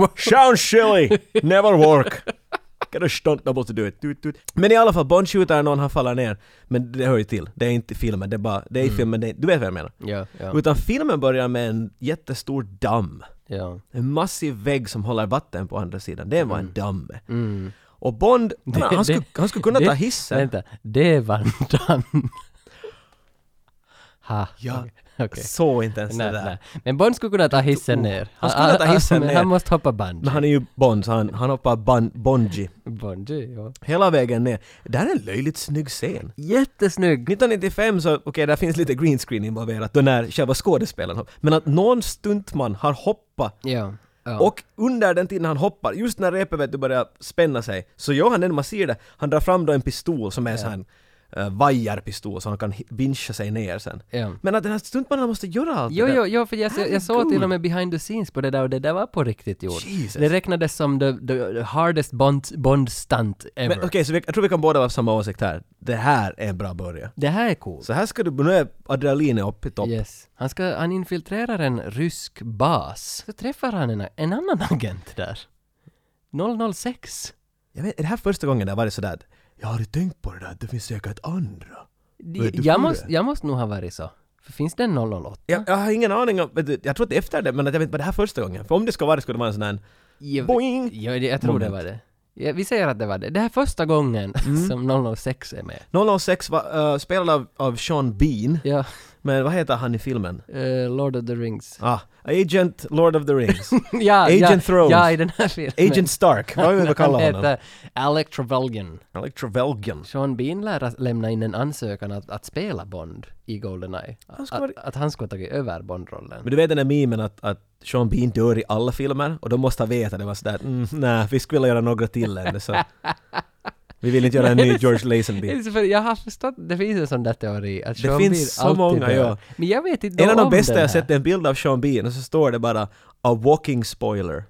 Speaker 1: No. Sounds silly! Never work! Get a stunt double to do it. Toot, toot. Men i alla fall, Bond skjuter någon, han faller ner. Men det hör ju till. Det är inte filmen, det är bara... Det är i filmen, det är, du vet vad jag menar.
Speaker 2: Mm. Ja, ja.
Speaker 1: Utan filmen börjar med en jättestor damm.
Speaker 2: ja.
Speaker 1: En massiv vägg som håller vatten på andra sidan. Det var en damm. Och
Speaker 2: *laughs*
Speaker 1: Bond, han, han, skulle, han skulle kunna
Speaker 2: Mm. det-
Speaker 1: ta hissen.
Speaker 2: Vänta, det var en damm. Ha,
Speaker 1: Ja.
Speaker 2: okej. okej.
Speaker 1: Så inte ens
Speaker 2: Nej,
Speaker 1: det där.
Speaker 2: nej. Men Bond skulle kunna ta hissen ner.
Speaker 1: Oh, han skulle ta hissen
Speaker 2: men
Speaker 1: ner.
Speaker 2: Han måste hoppa bungee.
Speaker 1: Men han är ju Bond, så han, han hoppar bun, bungee
Speaker 2: Bungee, ja.
Speaker 1: hela vägen ner. Det här är en löjligt snygg scen.
Speaker 2: Jättesnygg!
Speaker 1: 1995 så, okej, där finns lite green screen involverat, då när själva skådespelaren hoppar. Men att någon stuntman har hoppat
Speaker 2: Ja. ja.
Speaker 1: och under den tiden han hoppar, just när repet vet du börjar spänna sig, så gör han det, man ser det, han drar fram då en pistol som är en sån här eh, vajarpistol så han kan hi- vincha sig ner sen.
Speaker 2: Ja.
Speaker 1: Men att den här stuntmannen måste göra allt
Speaker 2: Jo,
Speaker 1: det där.
Speaker 2: jo, jo, för jag, jag, jag såg till och med behind the scenes på det där och det där var på riktigt gjort.
Speaker 1: Jesus.
Speaker 2: Det räknades som the, the, the hardest Bond, Bond stunt ever.
Speaker 1: Men okej, så vi, jag tror vi kan båda vara samma åsikt här. Det här är en bra början.
Speaker 2: Det här är coolt.
Speaker 1: Så här ska du, nu är adrenalinet upp i topp.
Speaker 2: Yes. Han, ska, han infiltrerar en rysk bas. Så träffar han en, en annan agent där. 006.
Speaker 1: Jag vet, är det här första gången det har varit sådär att, jag har aldrig tänkt på det där, det finns säkert andra. Vet du
Speaker 2: Jag
Speaker 1: hur
Speaker 2: måste,
Speaker 1: det är?
Speaker 2: jag måste nog ha varit så. För finns det en 008?
Speaker 1: Jag, jag har ingen aning om, vet du, jag tror att det är efter det, men att jag vet inte, var det här första gången? För om det ska vara det skulle det vara en sån här
Speaker 2: Jag,
Speaker 1: Boing!
Speaker 2: Ja, det- jag tror det var det. Ja, vi säger att det var det. Det här är första gången
Speaker 1: Mm.
Speaker 2: som 006 är med.
Speaker 1: 006 var, eh, spelad av, av Sean Bean,
Speaker 2: Ja,
Speaker 1: men vad heter han i filmen?
Speaker 2: eh, Lord of the Rings. *laughs*
Speaker 1: Ah, Agent Lord of the Rings.
Speaker 2: ja, ja,
Speaker 1: Agent Thrones.
Speaker 2: Ja, i den här filmen.
Speaker 1: Agent Stark, vad vill vi kalla
Speaker 2: Han
Speaker 1: honom?
Speaker 2: heter Alec Trevelyan.
Speaker 1: Alec Trevelyan.
Speaker 2: Sean Bean lär att lämna in en ansökan att, att spela Bond i Goldeneye. Att,
Speaker 1: ska vara-
Speaker 2: att, att han skulle ha tagit över Bond-rollen.
Speaker 1: Men du vet den där memen att, att Sean Bean dör i alla filmer och de måste ha vetat det var sådär att, mm, nej, vi skulle vilja göra några till ännu
Speaker 2: *laughs*
Speaker 1: så vi vill inte göra en ny George
Speaker 2: Det är
Speaker 1: Lazenby.
Speaker 2: så för jag har förstått, det finns en sån där teori att
Speaker 1: Det
Speaker 2: Sean
Speaker 1: finns
Speaker 2: Bean
Speaker 1: så
Speaker 2: alltid
Speaker 1: många,
Speaker 2: dör.
Speaker 1: ja.
Speaker 2: Men jag vet inte
Speaker 1: En av
Speaker 2: om
Speaker 1: de bästa
Speaker 2: den
Speaker 1: jag
Speaker 2: här.
Speaker 1: sett är en bild av Sean Bean och så står det bara “A walking spoiler”.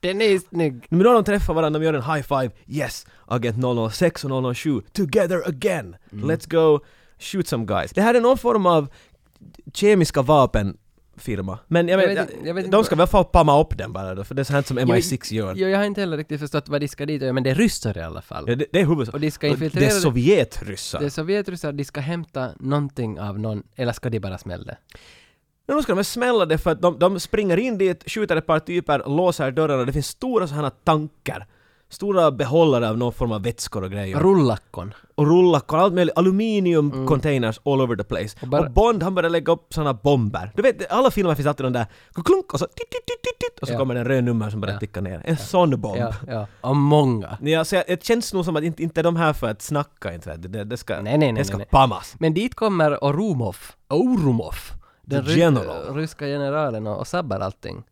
Speaker 2: Den är snygg!
Speaker 1: Men då har de träffat varandra, de gör en high five, yes! Agent 006 och 007, together again!
Speaker 2: Mm.
Speaker 1: Let's go shoot some guys. Det här är någon form av kemiska vapenfirma. Men jag,
Speaker 2: Jag
Speaker 1: vet,
Speaker 2: vet inte- jag vet inte
Speaker 1: de
Speaker 2: vad-
Speaker 1: ska väl få pamma upp den bara då, för det är sånt som MI6 gör.
Speaker 2: Jo, jag har inte heller riktigt förstått vad de ska dit och göra, men det är ryssar i alla fall.
Speaker 1: Ja, det, det är huvudsaken.
Speaker 2: Och de ska
Speaker 1: Det
Speaker 2: infiltrera...
Speaker 1: är sovjetryssar.
Speaker 2: Det är sovjetryssar, de ska hämta någonting av någon, eller ska de bara smälla?
Speaker 1: Men nu ska de väl smälla det för att de, de springer in dit, skjuter ett par typer, låser dörrarna. Det finns stora sådana tankar. Stora behållare av någon form av vätskor och grejer.
Speaker 2: Rullakon.
Speaker 1: och rullakor, allt möjligt. Aluminium containers all over the place. Och,
Speaker 2: Mm. Och bara-
Speaker 1: Bond han börjar lägga upp sådana bomber. Du vet, i alla filmer finns alltid de där klunk och så tit, tit, tit, tit, tit, och så
Speaker 2: Ja.
Speaker 1: kommer det en röd nummer som börjar
Speaker 2: Ja.
Speaker 1: ticka ner. En sån bomb.
Speaker 2: Ja,
Speaker 1: Ja.
Speaker 2: ja. Och många.
Speaker 1: så jag, det känns nog som att inte, inte är de här för att snacka inte. vet du. Det, det ska,
Speaker 2: Nej, nej,
Speaker 1: det
Speaker 2: nej,
Speaker 1: ska
Speaker 2: nej, nej.
Speaker 1: pammas.
Speaker 2: Men dit kommer Orumov. Orumov. Den
Speaker 1: The
Speaker 2: ry-
Speaker 1: general.
Speaker 2: ryska generalen och, och sabbar allting.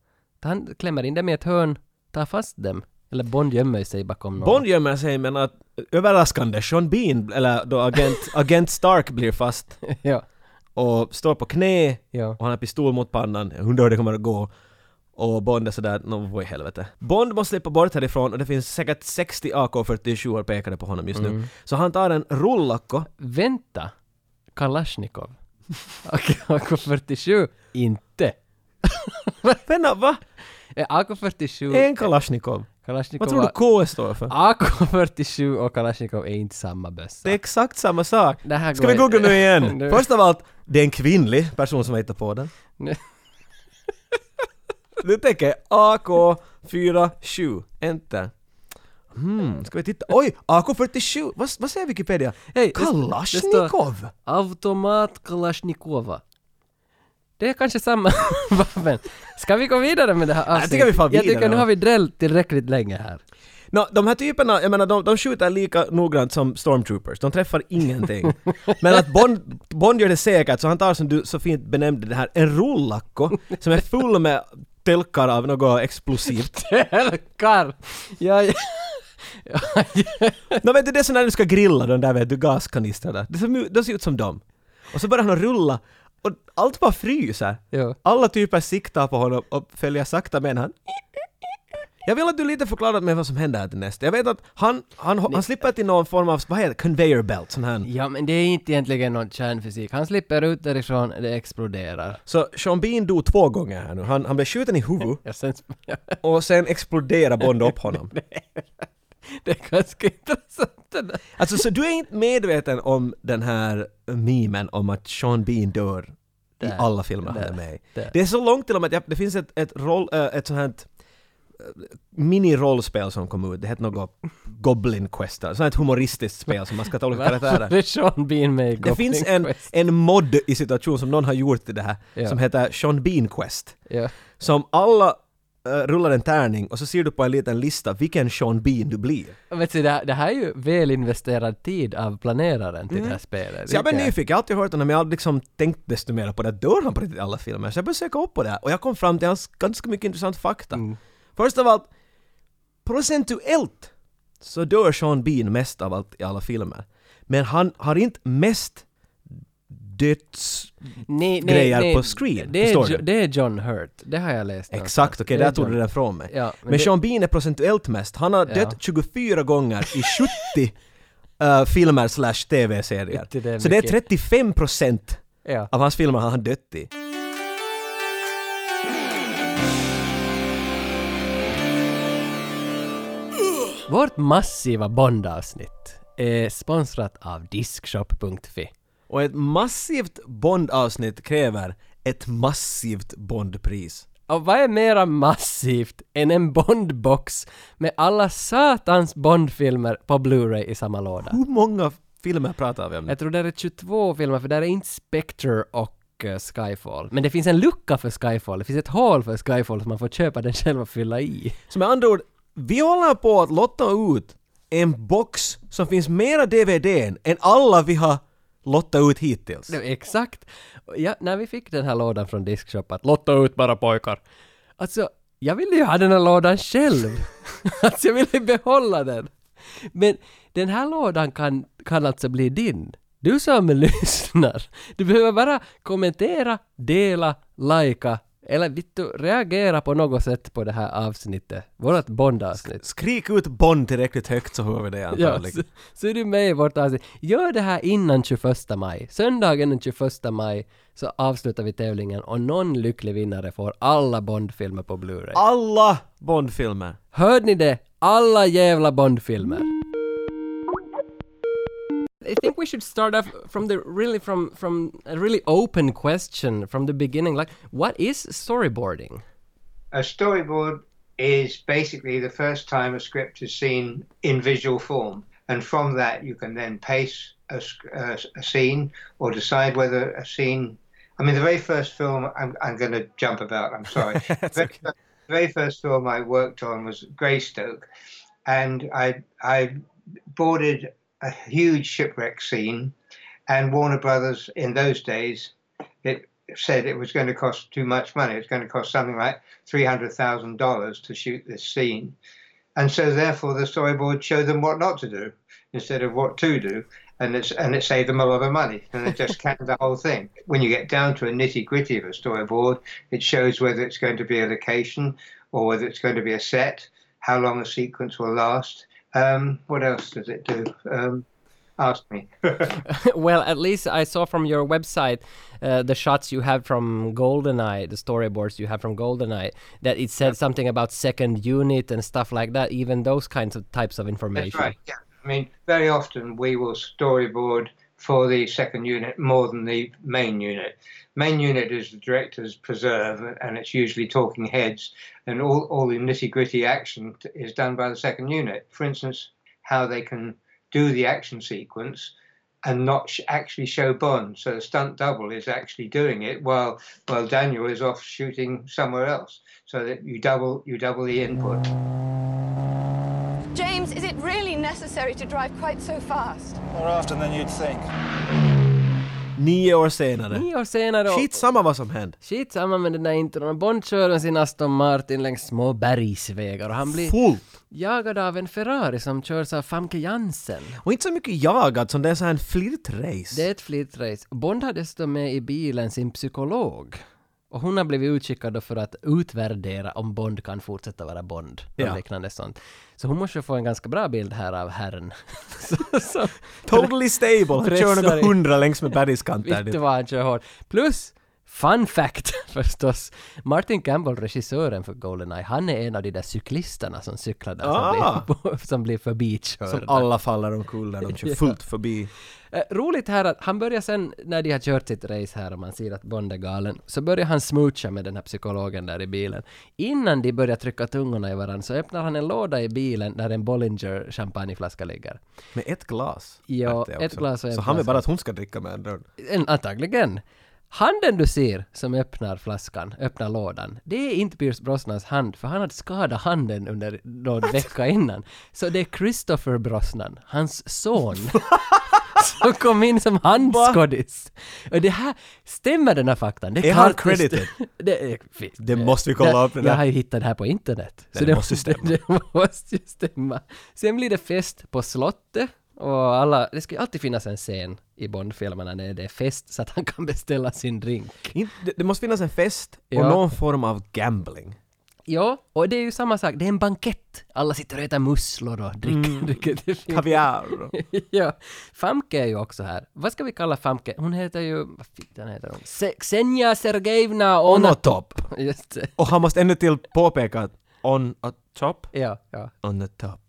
Speaker 2: Han klämmer in dem i ett hörn, tar fast dem. Eller Bond gömmer sig bakom någon.
Speaker 1: Bond gömmer sig men att *laughs* överraskande Sean Bean, eller då agent, agent Stark blir fast.
Speaker 2: *laughs* ja.
Speaker 1: och står på knä
Speaker 2: Ja.
Speaker 1: och han har pistol mot pannan, jag undrar hur det kommer att gå. Och Bond är sådär, nå vad i helvete. Bond måste slippa bort härifrån och det finns säkert 60 AK47 pekade på honom just
Speaker 2: Mm.
Speaker 1: nu. Så han tar en
Speaker 2: *laughs*
Speaker 1: rullacko,
Speaker 2: Vänta! Kalashnikov. *laughs* AK-47? Inte.
Speaker 1: vänta va?
Speaker 2: Eh, AK-47...
Speaker 1: En Kalashnikov.
Speaker 2: Kalashnikov
Speaker 1: Eh, Vad tror du
Speaker 2: var-
Speaker 1: K står
Speaker 2: Ah.
Speaker 1: för?
Speaker 2: AK-47 och Kalashnikov är inte samma
Speaker 1: Det är
Speaker 2: bössa.
Speaker 1: exakt samma sak.
Speaker 2: Det här
Speaker 1: Ska
Speaker 2: går
Speaker 1: vi googla *laughs*
Speaker 2: inte.
Speaker 1: nu igen?
Speaker 2: *laughs* Nu-
Speaker 1: Först av allt, det är en kvinnlig person som har hittat på den.
Speaker 2: Nu-
Speaker 1: *laughs* Du tänker AK47, enter. Hmm, ska vi titta? Oj, AK47! Vad, vad säger Wikipedia?
Speaker 2: Hej, det- det
Speaker 1: Kalashnikov!
Speaker 2: Automat Kalashnikova. Det är kanske samma *laughs* vapen. Ska vi gå vidare med det här avsnittet?
Speaker 1: tycker vi far
Speaker 2: Jag tycker
Speaker 1: vidare,
Speaker 2: nu
Speaker 1: va?
Speaker 2: har vi drällt tillräckligt länge *laughs* här.
Speaker 1: Nå, de här typerna, jag menar de, de skjuter lika noggrant som stormtroopers, de träffar *laughs* ingenting. Men att Bond, Bond gör det säkert, så han tar som du så fint benämnde det här, en rullacko som är full med tölkar av något explosivt.
Speaker 2: Tölkar! Ja, ja.
Speaker 1: Nå vet du, det är så när du ska grilla de där vet du, gaskanistrarna, det ser, mu- de ser ut som dem. Och så börjar han att rulla, och allt bara fryser.
Speaker 2: Jo.
Speaker 1: Alla typer siktar på honom och följer sakta med han. Jag vill att du lite förklarar åt mig vad som händer här till nästa. Jag vet att han, han, han slipper till någon form av, vad heter det, conveyor belt, sån här.
Speaker 2: ja, men det är inte egentligen någon kärnfysik. Han slipper ut därifrån, det exploderar.
Speaker 1: Så Sean Bean dog två gånger här nu. Han, han blev skjuten i huvudet
Speaker 2: *laughs* Ja, sen,
Speaker 1: och sen exploderar Bond upp honom.
Speaker 2: det är ganska intressant det där.
Speaker 1: Alltså, så du är inte medveten om den här memen om att Sean Bean dör i
Speaker 2: Där,
Speaker 1: alla filmer han är
Speaker 2: där,
Speaker 1: med i.
Speaker 2: där.
Speaker 1: Det är så långt till och med att jag, det finns ett, ett, roll, äh, ett sånt här äh, mini-rollspel som kom ut. Det hette något Goblin Quest, eller sånt här ett humoristiskt spel som man ska ta
Speaker 2: *laughs*
Speaker 1: olika
Speaker 2: Varför
Speaker 1: karaktärer.
Speaker 2: är Sean Bean med i
Speaker 1: Det
Speaker 2: Goblin
Speaker 1: finns en,
Speaker 2: Quest?
Speaker 1: en mod i situation som någon har gjort till det här,
Speaker 2: Ja.
Speaker 1: som heter Sean Bean Quest.
Speaker 2: Ja.
Speaker 1: som alla eh, rullar en tärning och så ser du på en liten lista vilken Sean Bean du blir.
Speaker 2: Vet du, det, här, det här är ju väl investerad tid av planeraren till det här spelet.
Speaker 1: Så jag blev
Speaker 2: Vilka-
Speaker 1: nyfiken, jag har alltid hört honom, men jag har liksom tänkt desto mer på det. Dör han på riktigt i alla filmer? Så jag började söka upp på det här och jag kom fram till hans ganska mycket intressant fakta.
Speaker 2: Mm.
Speaker 1: Först av allt, procentuellt så dör Sean Bean mest av allt i alla filmer. Men han har inte mest döds...
Speaker 2: nej,
Speaker 1: grejer på screen,
Speaker 2: Det
Speaker 1: förstår
Speaker 2: är,
Speaker 1: du?
Speaker 2: Jo- det är John Hurt, det har jag läst
Speaker 1: Exakt, okej,
Speaker 2: Det är
Speaker 1: där tog du
Speaker 2: John-
Speaker 1: den från mig.
Speaker 2: Ja,
Speaker 1: men
Speaker 2: men det-
Speaker 1: Sean Bean är procentuellt mest. Han har
Speaker 2: Ja.
Speaker 1: dött 24 gånger i 70 eh, filmer slash
Speaker 2: Inte det
Speaker 1: TV-serier.
Speaker 2: är
Speaker 1: Så det är
Speaker 2: mycket.
Speaker 1: 35 procent
Speaker 2: Ja.
Speaker 1: av hans filmer har han dött i.
Speaker 2: Vårt massiva Bond-avsnitt är sponsrat av Diskshop.fi.
Speaker 1: Och ett massivt Bond-avsnitt kräver ett massivt Bond-pris.
Speaker 2: Och vad är mera massivt än en Bond-box med alla satans Bond-filmer på Blu-ray i samma låda?
Speaker 1: Hur många filmer pratar vi om nu?
Speaker 2: Jag tror det är 22 filmer, för där är inte Spectre och eh, Skyfall. Men det finns en lucka för Skyfall, det finns ett hål för Skyfall som man får köpa den själv och fylla i.
Speaker 1: Så med andra ord, vi håller på att lotta ut en box som finns mera DVD n än alla vi har lottat ut hittills.
Speaker 2: Det var Exakt! Och Ja, när vi fick den här lådan från Diskshop att lotta ut bara pojkar. Alltså, jag ville ju ha den här lådan själv. *laughs* alltså jag ville behålla den. Men den här lådan kan, kan alltså bli din. Du som *laughs* lyssnar. Du behöver bara kommentera, dela, lika eller vittu, reagera på något sätt på det här avsnittet. Vårat Bond-avsnitt.
Speaker 1: Skrik ut Bond tillräckligt högt så hör vi det
Speaker 2: *laughs* Ja,
Speaker 1: antagligen.
Speaker 2: så, så är du med i vårt avsnitt. Gör det här innan 21 maj. Söndagen den 21 maj så avslutar vi tävlingen och någon lycklig vinnare får alla Bondfilmer på Blu-ray.
Speaker 1: Alla Bond-filmer.
Speaker 2: Hörde ni det? Alla jävla Bondfilmer. I think we should start off from the really from from a really open question from the beginning like what is storyboarding?
Speaker 4: A storyboard is basically the first time a script is seen in visual form, and from that you can then pace a, sc- a, a scene or decide whether a scene. I mean, the very first film I'm, I'm going to jump about. I'm sorry. the, very, fir- the very first film I worked on was Greystoke, and I I boarded a huge shipwreck scene, and Warner Brothers in those days, it said it was going to cost too much money. It's going to cost something like three hundred thousand dollars to shoot this scene, and so therefore the storyboard showed them what not to do. instead of what to do, and it's and it saved them a lot of money, and it just canned the whole thing. When you get down to a nitty gritty of a storyboard, it shows whether it's going to be a location or whether it's going to be a set, how long a sequence will last. Um, what else does it do? Um, ask me.
Speaker 2: well, at least I saw from your website uh, the shots you have from Goldeneye, the storyboards you have from Goldeneye, that it said something about second unit and stuff like that. Even those kinds of types of information.
Speaker 4: That's right. Yeah. I mean, very often we will storyboard for the second unit more than the main unit. Main unit is the director's preserve, and it's usually talking heads, and all, all the nitty gritty action t- is done by the second unit. For instance, how they can do the action sequence and not sh- actually show Bond. So the stunt double is actually doing it while while Daniel is off shooting somewhere else. So that you double you double the input.
Speaker 10: James, is it really necessary to drive quite so fast?
Speaker 11: More often than you'd think.
Speaker 1: Nio år senare.
Speaker 2: Nio år senare och-
Speaker 1: Skitsamma vad som hände.
Speaker 2: Skitsamma med den där intron. Bond kör med sin Aston Martin längs små bergsvägar och han blir
Speaker 1: Fullt.
Speaker 2: jagad av en Ferrari som körs av Famke Jansen.
Speaker 1: Och inte så mycket jagad som det är så här en flirtrace.
Speaker 2: Det är ett flirtrace. Bond har dessutom med i bilen sin psykolog. Och hon har blivit utskickad då för att utvärdera om Bond kan fortsätta vara Bond. Och
Speaker 1: Ja.
Speaker 2: liknande sånt. Så hon måste ju få en ganska bra bild här av herren. *laughs* så, så,
Speaker 1: Totally stable. Han kör
Speaker 2: Pressar
Speaker 1: några
Speaker 2: i-
Speaker 1: hundra längs med bergskanter.
Speaker 2: *laughs* Vet du
Speaker 1: dit.
Speaker 2: vad han kör hårt? Plus, fun fact *laughs* förstås, Martin Campbell, regissören för Goldeneye, han är en av de där cyklisterna som cyklar där
Speaker 1: Ah.
Speaker 2: som, blir, *laughs* som blir förbikörda.
Speaker 1: Som alla faller omkull när de
Speaker 2: *laughs*
Speaker 1: kör fullt förbi.
Speaker 2: Eh, roligt här att han börjar sen, när de har kört sitt race här och man ser att Bond är galen, så börjar han smoocha med den här psykologen där i bilen. Innan de börjar trycka tungorna i varandra så öppnar han en låda i bilen där en Bollinger champagneflaska ligger.
Speaker 1: Med ett glas.
Speaker 2: Ja,
Speaker 1: märkte jag
Speaker 2: ett
Speaker 1: också.
Speaker 2: glas och en
Speaker 1: Så han vill
Speaker 2: flaska.
Speaker 1: bara att hon ska dricka med andra ord.
Speaker 2: En, antagligen. Handen du ser som öppnar flaskan, öppnar lådan, det är inte Pierce Brosnans hand, för han hade skadat handen under någon vecka innan. Så det är Christopher Brosnan, hans
Speaker 1: *laughs*
Speaker 2: son, som kom in som handskådis. Och det här, stämmer den här faktan? Det
Speaker 1: Är han
Speaker 2: klart det st-
Speaker 1: credited?
Speaker 2: *laughs* det, är- fi-
Speaker 1: Det måste vi kolla
Speaker 2: det-
Speaker 1: upp det där.
Speaker 2: Jag har ju hittat det här på internet.
Speaker 1: det måste ju stämma.
Speaker 2: *laughs* Det, det måste ju stämma. Sen blir det fest på slottet och alla, det ska ju alltid finnas en scen i Bondfilmerna när det är fest så att han kan beställa sin drink.
Speaker 1: In- Det, det måste finnas en fest och
Speaker 2: Ja.
Speaker 1: någon form av gambling.
Speaker 2: Ja, och det är ju samma sak, det är en bankett. Alla sitter och äter musslor och dricker.
Speaker 1: Mm.
Speaker 2: dricker det fint.
Speaker 1: Kaviar.
Speaker 2: *laughs* ja. Famke är ju också här. Vad ska vi kalla Famke? Hon heter ju, vad fittan heter hon? Se, Senja Sergejevna Onatop.
Speaker 1: Onatop.
Speaker 2: *laughs* Just det.
Speaker 1: Och han måste ännu till påpeka att on a top,
Speaker 2: Ja, ja. *laughs*
Speaker 1: on a top.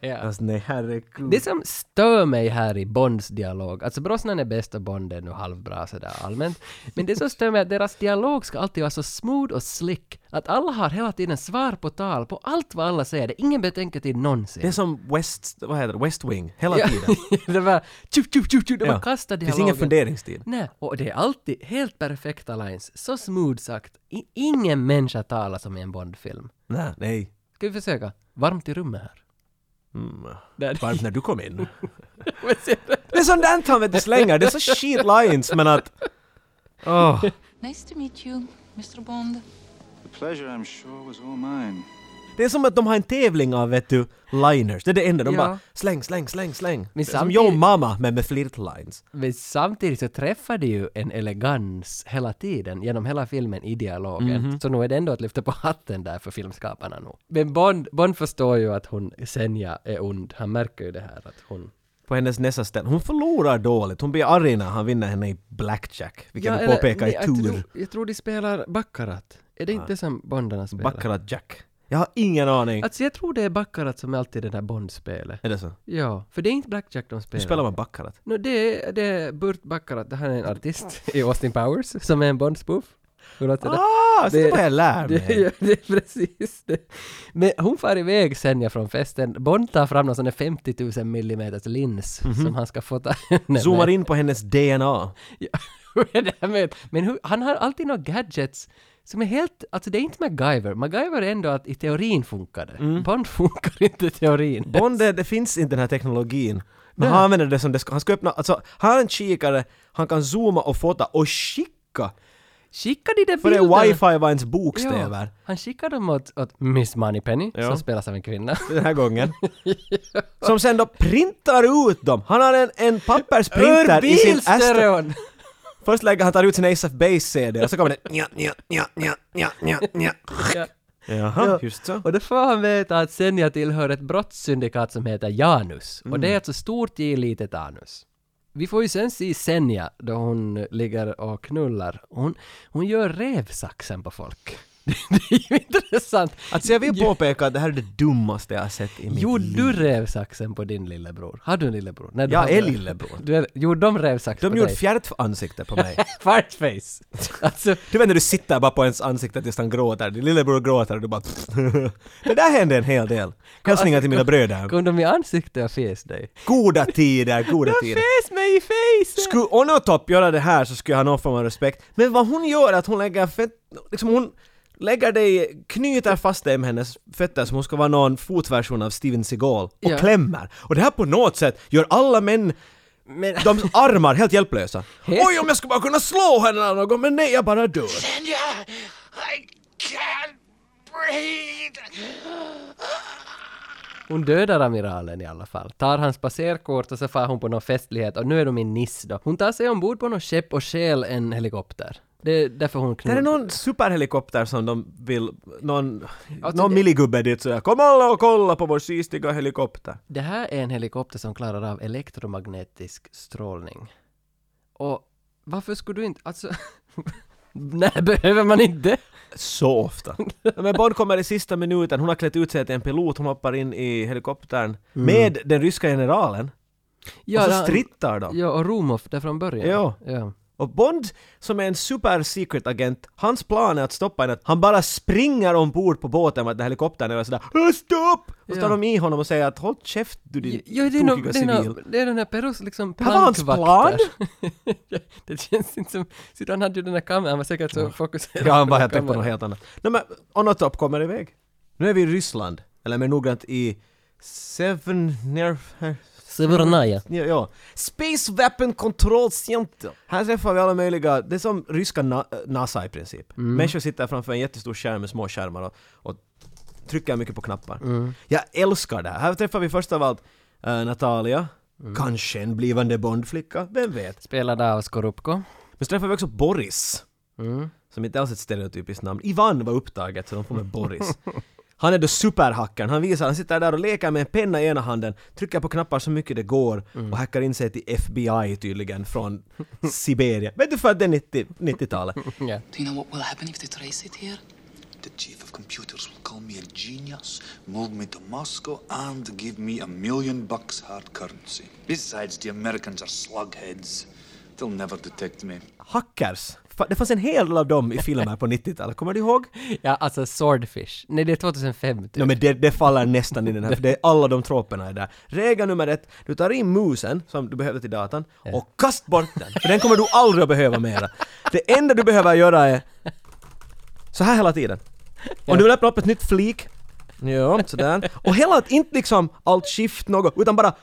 Speaker 2: ja.
Speaker 1: Alltså nej herregud.
Speaker 2: Det som stör mig här i Bonds dialog, alltså Brosnan är bäst och Bond är nu halvbra sådär allmänt, men det som stör mig är att deras dialog ska alltid vara så smooth och slick, att alla har hela tiden svar på tal på allt vad alla säger, det är ingen betänketid någonsin.
Speaker 1: Det är som West, vad heter det, West Wing, hela
Speaker 2: ja,
Speaker 1: tiden.
Speaker 2: det var tju, tju, tju, tju, *laughs* de
Speaker 1: Ja.
Speaker 2: bara kastar
Speaker 1: Det
Speaker 2: dialogen.
Speaker 1: finns ingen funderingstid.
Speaker 2: Nej, och det är alltid helt perfekta lines, så smooth sagt. I, ingen människa talar som i en Bond-film.
Speaker 1: Nej, nej.
Speaker 2: Ska vi försöka? Varmt i rummet
Speaker 1: *laughs*
Speaker 2: här. Där-
Speaker 1: Varmt när du kom in.
Speaker 2: Vad säger du?
Speaker 1: Det är sånt där han vet du slänger, det är så shit lines men att... Åh.
Speaker 10: Nice to meet you, Mr. Bond.
Speaker 8: The pleasure, I'm sure, was all mine.
Speaker 1: Det är som att de har en tävling av vet du, liners, det är det enda, de
Speaker 2: Ja.
Speaker 1: bara släng, släng, släng, släng. Det är som
Speaker 2: samtidigt-
Speaker 1: Yo Mama men med flirtlines.
Speaker 2: Men samtidigt så träffar det ju en elegans hela tiden, genom hela filmen i dialogen.
Speaker 1: Mhm.
Speaker 2: Så nog är det ändå att lyfta på hatten där för filmskaparna nog. Men Bond, Bond förstår ju att hon, Senja, är ond. Han märker ju det här att hon...
Speaker 1: På hennes nästa ställe, hon förlorar dåligt, hon blir arg när han vinner henne i blackjack, vilket vi påpekar i
Speaker 2: nej,
Speaker 1: tur.
Speaker 2: Jag tror, jag tror de spelar Baccarat. Är det inte som Bondarna spelar?
Speaker 1: Baccarat Jack. Jag har ingen aning.
Speaker 2: Alltså jag tror det är Baccarat som är alltid det där Bondspelet.
Speaker 1: Är det så?
Speaker 2: Ja, för det är inte Blackjack de spelar.
Speaker 1: Hur spelar man Baccarat?
Speaker 2: No, det, är, det är Burt Baccarat, han är en artist *laughs* i Austin Powers, som är en Bond-spoof. Hur låter det?
Speaker 1: Ah, så
Speaker 2: Det-
Speaker 1: det, vad jag lär mig!
Speaker 2: Det, ja, det är precis det. Men hon far iväg Senja från festen. Bond tar fram någon sån där 50 000 millimeters lins som han ska *laughs* fota henne
Speaker 1: Mhm. Zoomar
Speaker 2: med.
Speaker 1: in på hennes DNA.
Speaker 2: Ja, hur är det här med- Men hur, han har alltid några gadgets som är helt... Alltså det är inte MacGyver. MacGyver är ändå att i teorin funkar det.
Speaker 1: Mm.
Speaker 2: Bond *laughs* funkar inte i teorin.
Speaker 1: Bond, det- det finns inte den här teknologin. Men
Speaker 2: Nej.
Speaker 1: han använder det som det ska, han ska öppna, alltså han har en kikare, han kan zooma och fota och skicka
Speaker 2: Skickade de
Speaker 1: För
Speaker 2: bilder?
Speaker 1: det wifi var ens bokstäver.
Speaker 2: Ja, han skickade dem åt, åt Miss Moneypenny,
Speaker 1: Ja.
Speaker 2: som spelas av en kvinna.
Speaker 1: Den här *laughs* gången. Som sen då printar ut dem. Han har en, en pappersprinter i sin Astro...
Speaker 2: Örbilstereon!
Speaker 1: Först lägger han tar ut sin Ace of Base-CD och så kommer den... Nja, nja, nja, nja, nja, nja, nja.
Speaker 2: Ja.
Speaker 1: Jaha, just så.
Speaker 2: Och då får han veta att Senja tillhör ett brottssyndikat som heter Janus. Och det
Speaker 1: Mm.
Speaker 2: är alltså stort J litet anus. Vi får ju sen se Senja då hon ligger och knullar. Hon, hon gör rävsaxen på folk. *laughs* Det är ju intressant.
Speaker 1: Alltså jag vill påpeka att det här är det dummaste jag har sett i mitt
Speaker 2: Gjorde
Speaker 1: liv.
Speaker 2: du rävsaxen på din lillebror? Har du en lillebror? Nej, du
Speaker 1: Jag
Speaker 2: har-
Speaker 1: är lillebror.
Speaker 2: Du är, gjorde de rävsax
Speaker 1: De
Speaker 2: på
Speaker 1: gjorde
Speaker 2: dig?
Speaker 1: fjärtansikte på *laughs* mig.
Speaker 2: Fartface! Alltså,
Speaker 1: Du vet när du sitter bara på ens ansikte tills han gråter, din lillebror gråter och du bara... *laughs* Det där hände en hel del. Hälsningar till mina bröder.
Speaker 2: kom de i ansiktet och fes dig?
Speaker 1: Goda tider, goda
Speaker 2: De
Speaker 1: tider.
Speaker 2: fes mig i face!
Speaker 1: Skulle Onotop göra det här så skulle jag ha någon form av respekt. Men vad hon gör är att hon lägger fett... Liksom hon lägger dig, knyter fast dig med hennes fötter som hon ska vara någon fotversion av Steven Seagal och
Speaker 2: Ja.
Speaker 1: klämmer. Och det här på något sätt gör alla män
Speaker 2: Men,
Speaker 1: *laughs* de armar helt hjälplösa.
Speaker 2: Helt-
Speaker 1: Oj om jag skulle bara kunna slå henne eller något men nej jag bara dör.
Speaker 2: Hon dödar amiralen i alla fall. Tar hans passerkort och så far hon på någon festlighet och nu är de i Nice då. Hon tar sig ombord på något skepp och stjäl en helikopter. Det är därför hon
Speaker 1: Det är
Speaker 2: knullar.
Speaker 1: någon superhelikopter som de vill, någon,
Speaker 2: Alltså,
Speaker 1: någon
Speaker 2: det-
Speaker 1: milligubbe dit sådär kom alla och kolla på vår systiga helikopter.
Speaker 2: Det här är en helikopter som klarar av elektromagnetisk strålning. Och varför skulle du inte... Alltså... *laughs* Nej, behöver man inte?
Speaker 1: Så ofta. *laughs* Men Bond kommer i sista minuten, hon har klätt ut sig till en pilot, hon hoppar in i helikoptern med den ryska generalen.
Speaker 2: Ja,
Speaker 1: och så
Speaker 2: han-
Speaker 1: strittar de.
Speaker 2: Ja, och Romov där från början.
Speaker 1: Ja.
Speaker 2: ja.
Speaker 1: Och Bond, som är en super secret agent, hans plan är att stoppa henne. Han bara springer ombord på båten med den här helikoptern och är sådär "Äh, ”Stopp!” Och så tar
Speaker 2: Ja.
Speaker 1: de i honom och säger att ”Håll käft du din
Speaker 2: Ja, det är, nog,
Speaker 1: tokiga
Speaker 2: det, är
Speaker 1: civil”.
Speaker 2: nog, det är den här Perus liksom
Speaker 1: här var hans
Speaker 2: plankvakter. *laughs* det känns inte som... Så han hade ju den här kameran, han var säkert så fokuserad
Speaker 1: Ja, han bara
Speaker 2: den
Speaker 1: jag tänkte på
Speaker 2: kameran.
Speaker 1: något helt annat. No, men Onotop kommer iväg. Nu är vi i Ryssland, eller mer noggrant i Seven... Nerf-
Speaker 2: Severnaja.
Speaker 1: Ja, ja. Space Weapon Control Center. Här träffar vi alla möjliga, det är som ryska na- eh, NASA i princip. Människor sitter framför en jättestor skärm med små skärmar och, och trycker mycket på knappar. Jag älskar det här. Här träffar vi först av allt eh, Natalia, kanske en blivande Bondflicka, vem vet?
Speaker 2: Spelad av Skorupko.
Speaker 1: Men så träffar vi också Boris, som inte alls är ett stereotypiskt namn. Ivan var upptaget så de får med Boris. *laughs* Han är då superhackaren, han visar, han sitter där och leker med en penna i ena handen, trycker på knappar så mycket det går och hackar in sig till FBI tydligen från Sibirien. Vet du för att det är 90 90-talet?
Speaker 2: Ja.
Speaker 7: Do you know what will happen if they trace it here?
Speaker 8: The chief of computers will call me a genius, move me to Moscow, and give me a million bucks hard currency. Besides, the Americans are slugheads. They'll never detect me.
Speaker 1: Hackers! Fa- Det fanns en hel del av dem i filmer på 90-talet, kommer du ihåg?
Speaker 2: ja, alltså Swordfish. Nej, det är 2005 typ.
Speaker 1: Ja, men det, det faller nästan i den här, för det är alla de troperna är där. Regel nummer ett, du tar in musen som du behöver till datan och kast bort den, för den kommer du aldrig att behöva mera. Det enda du behöver göra är så här hela tiden. Om du vill öppna upp ett nytt flik, ja, sådär. Och hela, inte liksom allt shift något, utan bara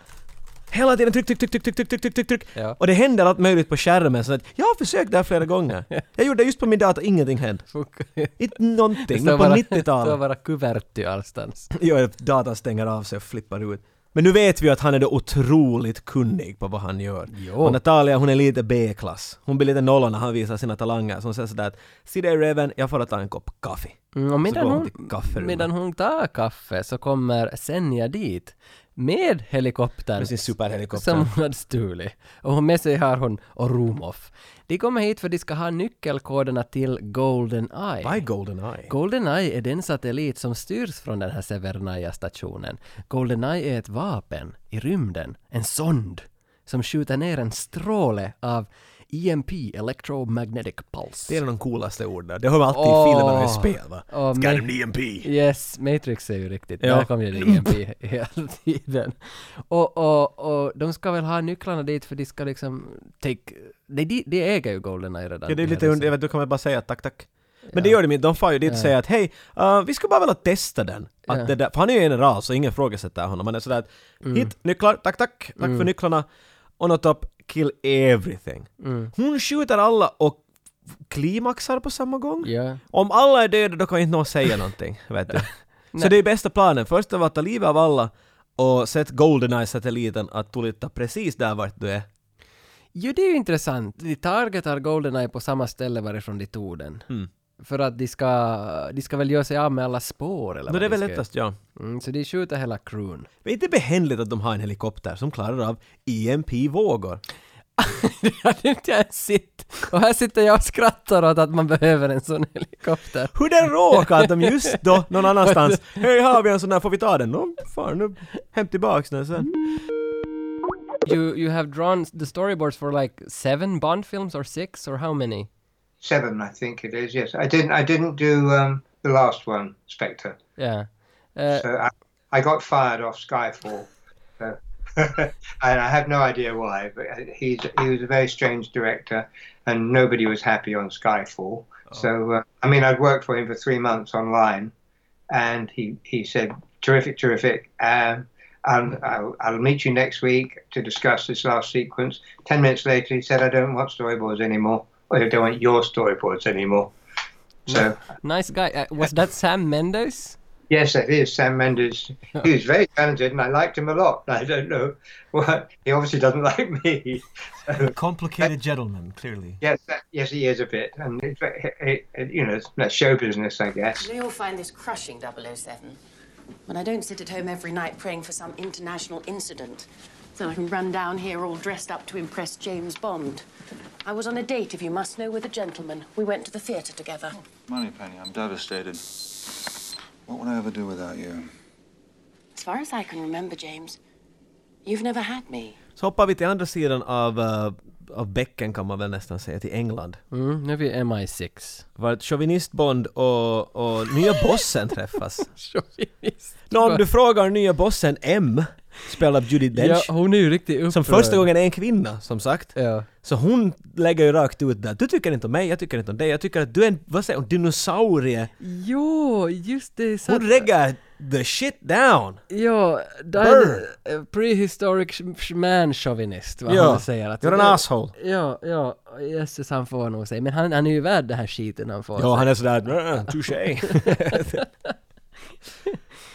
Speaker 1: Hela tiden tryck, tryck, tryck, tryck, tryck, tryck, tryck, tryck, tryck, tryck.
Speaker 2: Ja.
Speaker 1: Och det händer allt möjligt på skärmen så att jag har försökt det här flera
Speaker 2: *laughs*
Speaker 1: gånger. Jag gjorde det just på min data, ingenting hände.
Speaker 2: Funkar.
Speaker 1: Inte
Speaker 2: Det
Speaker 1: någonting,
Speaker 2: står
Speaker 1: men på
Speaker 2: bara-
Speaker 1: 90-talet.
Speaker 2: Det står bara kuverty allstans.
Speaker 1: Ja, datan stänger av sig och flippar ut. Men nu vet vi ju att han är då otroligt kunnig på vad han gör.
Speaker 2: Jo.
Speaker 1: Och Natalia hon är lite B-klass. Hon blir lite nolla när han visar sina talanger. Så hon säger sådär att ”Se dig Raven, jag får ta en kopp kaffe”.
Speaker 2: Mm, och medan,
Speaker 1: går hon
Speaker 2: hon,
Speaker 1: till kafferummet.
Speaker 2: medan hon tar kaffe så kommer Senja dit med helikoptern.
Speaker 1: Med sin superhelikopter.
Speaker 2: Som hon hade stulit. Och hon- med sig har hon och Rumov. De kommer hit för de ska ha nyckelkoderna till Golden Eye.
Speaker 1: By Goldeneye.
Speaker 2: Goldeneye är den satellit som styrs från den här Severnaja-stationen. Goldeneye är ett vapen i rymden, en sond, som skjuter ner en stråle av EMP, Electromagnetic Pulse.
Speaker 1: det är de coolaste orden där. Det har man alltid
Speaker 2: Åh.
Speaker 1: i filmer och i spel va?
Speaker 2: Åh,
Speaker 1: It's
Speaker 2: men-
Speaker 1: got an EMP.
Speaker 2: Yes, Matrix är ju riktigt.
Speaker 1: Ja.
Speaker 2: Där kom ju det EMP
Speaker 1: *clears throat*
Speaker 2: hela tiden. Och, och, och de ska väl ha nycklarna dit för de ska liksom take... De, de, de äger ju Goldeneye redan.
Speaker 1: Ja, det är
Speaker 2: de här
Speaker 1: lite under, jag
Speaker 2: ryssarna.
Speaker 1: vet, då kan man bara säga tack tack. Men det gör de inte, de far ju dit och säger att hej, eh, vi skulle bara vilja testa den. Att
Speaker 2: Ja. Mm.
Speaker 1: det där, för han är ju general så ingen frågasätter honom. Han är sådär att hit, nycklar, tack tack, tack
Speaker 2: Mm.
Speaker 1: för nycklarna. On top, kill everything. Hon skjuter alla och klimaxar på samma gång.
Speaker 2: Ja.
Speaker 1: Om alla är döda då kan inte någon säga någonting, *laughs* vet du. Så
Speaker 2: Nej.
Speaker 1: det är bästa planen. Först av att ta livet av alla och sätt Goldeneye-satelliten att tulitta precis där vart du är.
Speaker 2: Jo, det är ju intressant. De targetar Goldeneye på samma ställe varifrån de tog den.
Speaker 1: Mm.
Speaker 2: För att de ska, de ska väl göra sig av med alla spår eller
Speaker 1: Nå,
Speaker 2: vad
Speaker 1: det är
Speaker 2: de
Speaker 1: väl
Speaker 2: ska
Speaker 1: lättast, ja.
Speaker 2: göra. Mm, så de skjuter hela crewn. *laughs*
Speaker 1: Det är inte behändigt att de har en helikopter som klarar av E EMP-vågor.
Speaker 2: det hade inte jag ens sett. Och här sitter jag och skrattar åt att man behöver en sån helikopter.
Speaker 1: Hur det råkar att de just då, någon annanstans, hej här har vi en sån här, får vi ta den? Nå, fan, nu, hämt tillbaks den sen.
Speaker 2: You, you have drawn the storyboards for like seven Bond films or six or how many?
Speaker 4: Seven, I think it is. Yes, I didn't. I didn't do um, the last one, Spectre.
Speaker 2: Yeah. Uh,
Speaker 4: So I, I got fired off Skyfall, so *laughs* and I have no idea why. But he's he was a very strange director, and nobody was happy on Skyfall. So uh, I mean, I'd worked for him for three months online, and he he said, "Terrific, terrific." Um, and I'll, I'll meet you next week to discuss this last sequence. Ten minutes later, he said, "I don't want storyboards anymore. Or I don't want your storyboards anymore." So.
Speaker 2: nice guy. Uh, was that Sam Mendes?
Speaker 4: Yes, that is Sam Mendes. He was very talented, and I liked him a lot. *laughs* I don't know what he obviously doesn't *laughs* like me. So,
Speaker 1: Complicated gentleman, clearly.
Speaker 4: yes, that, yes, he is a bit, and it, it, it, you know, it's- that's show business, I guess.
Speaker 11: We all find this crushing 007. When I don't sit at home every night praying for some international incident, so I can run down here all dressed up to impress James Bond. I was on a date, if you must know, with a gentleman. We went to the theatre together.
Speaker 8: Moneypenny, I'm devastated. What would I ever do without you?
Speaker 11: As far as I can remember, James, you've never had me.
Speaker 1: Så hoppar vi till andra sidan av, eh, av bäcken kan man väl nästan säga, till England.
Speaker 2: Mm, nu är vi MI6.
Speaker 1: Vart chauvinistbond och, och nya bossen träffas.
Speaker 2: Chauvinist.
Speaker 1: Nå, om du frågar nya bossen M, spelad av Judi Dench,
Speaker 2: Ja, er hon är ju riktigt upprörd.
Speaker 1: som första gången är en kvinna, som sagt.
Speaker 2: Ja.
Speaker 1: Så hon lägger ju rakt ut där, du tycker inte om mig, jag tycker inte om dig, jag tycker att du är en, vad säger hon, dinosaurie.
Speaker 2: Jo, just det. Så
Speaker 1: Hon lägger the shit down!
Speaker 2: Ja,
Speaker 1: Burr.
Speaker 2: där eh, prehistoric sh- sh- man chauvinist vad
Speaker 1: Ja,
Speaker 2: han säger att
Speaker 1: you're an
Speaker 2: Ja,
Speaker 1: asshole.
Speaker 2: Ja, ja, jösses han får nog sig. Men han, er han är ju värd den här skiten han får
Speaker 1: Ja,
Speaker 2: sig.
Speaker 1: han är sådär, "Äh, *laughs* touché.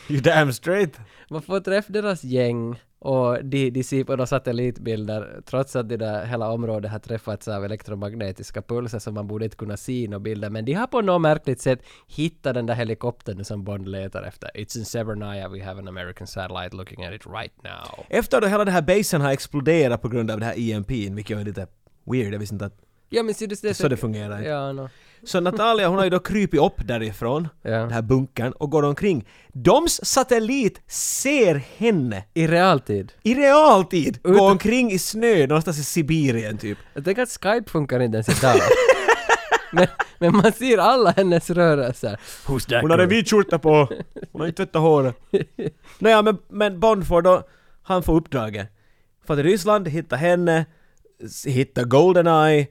Speaker 1: you damn straight.
Speaker 2: Man får träffa deras gäng och de, de ser på några satellitbilder trots att det där hela området har träffats av elektromagnetiska pulser som man borde inte kunna se i några bilder. Men de har på något märkligt sätt hittat den där helikoptern som Bond letar efter. It's in Severnaya, we have an American satellite looking at it right now.
Speaker 1: Efter då hela den här basen har exploderat på grund av det här EMP'n, vilket är lite weird, jag visste inte att...
Speaker 2: Ja men ser du det är
Speaker 1: Så det fungerar inte.
Speaker 2: Ja, nå.
Speaker 1: Så Natalia hon har ju då krypit upp därifrån,
Speaker 2: Ja.
Speaker 1: den här bunkern, och går omkring. Doms satellit ser henne
Speaker 2: I realtid.
Speaker 1: i realtid
Speaker 2: Ut-
Speaker 1: gå omkring i snö någonstans i Sibirien typ.
Speaker 2: Jag tänker att Skype funkar inte ens
Speaker 1: *laughs*
Speaker 2: idag. men, men man ser alla hennes rörelser. Who's that
Speaker 1: Hon har en vit skjorta på, hon har inte tvättat håret. Nåja men, men Bond får då, han får uppdraget. För till Ryssland, hitta henne, s- hitta Goldeneye,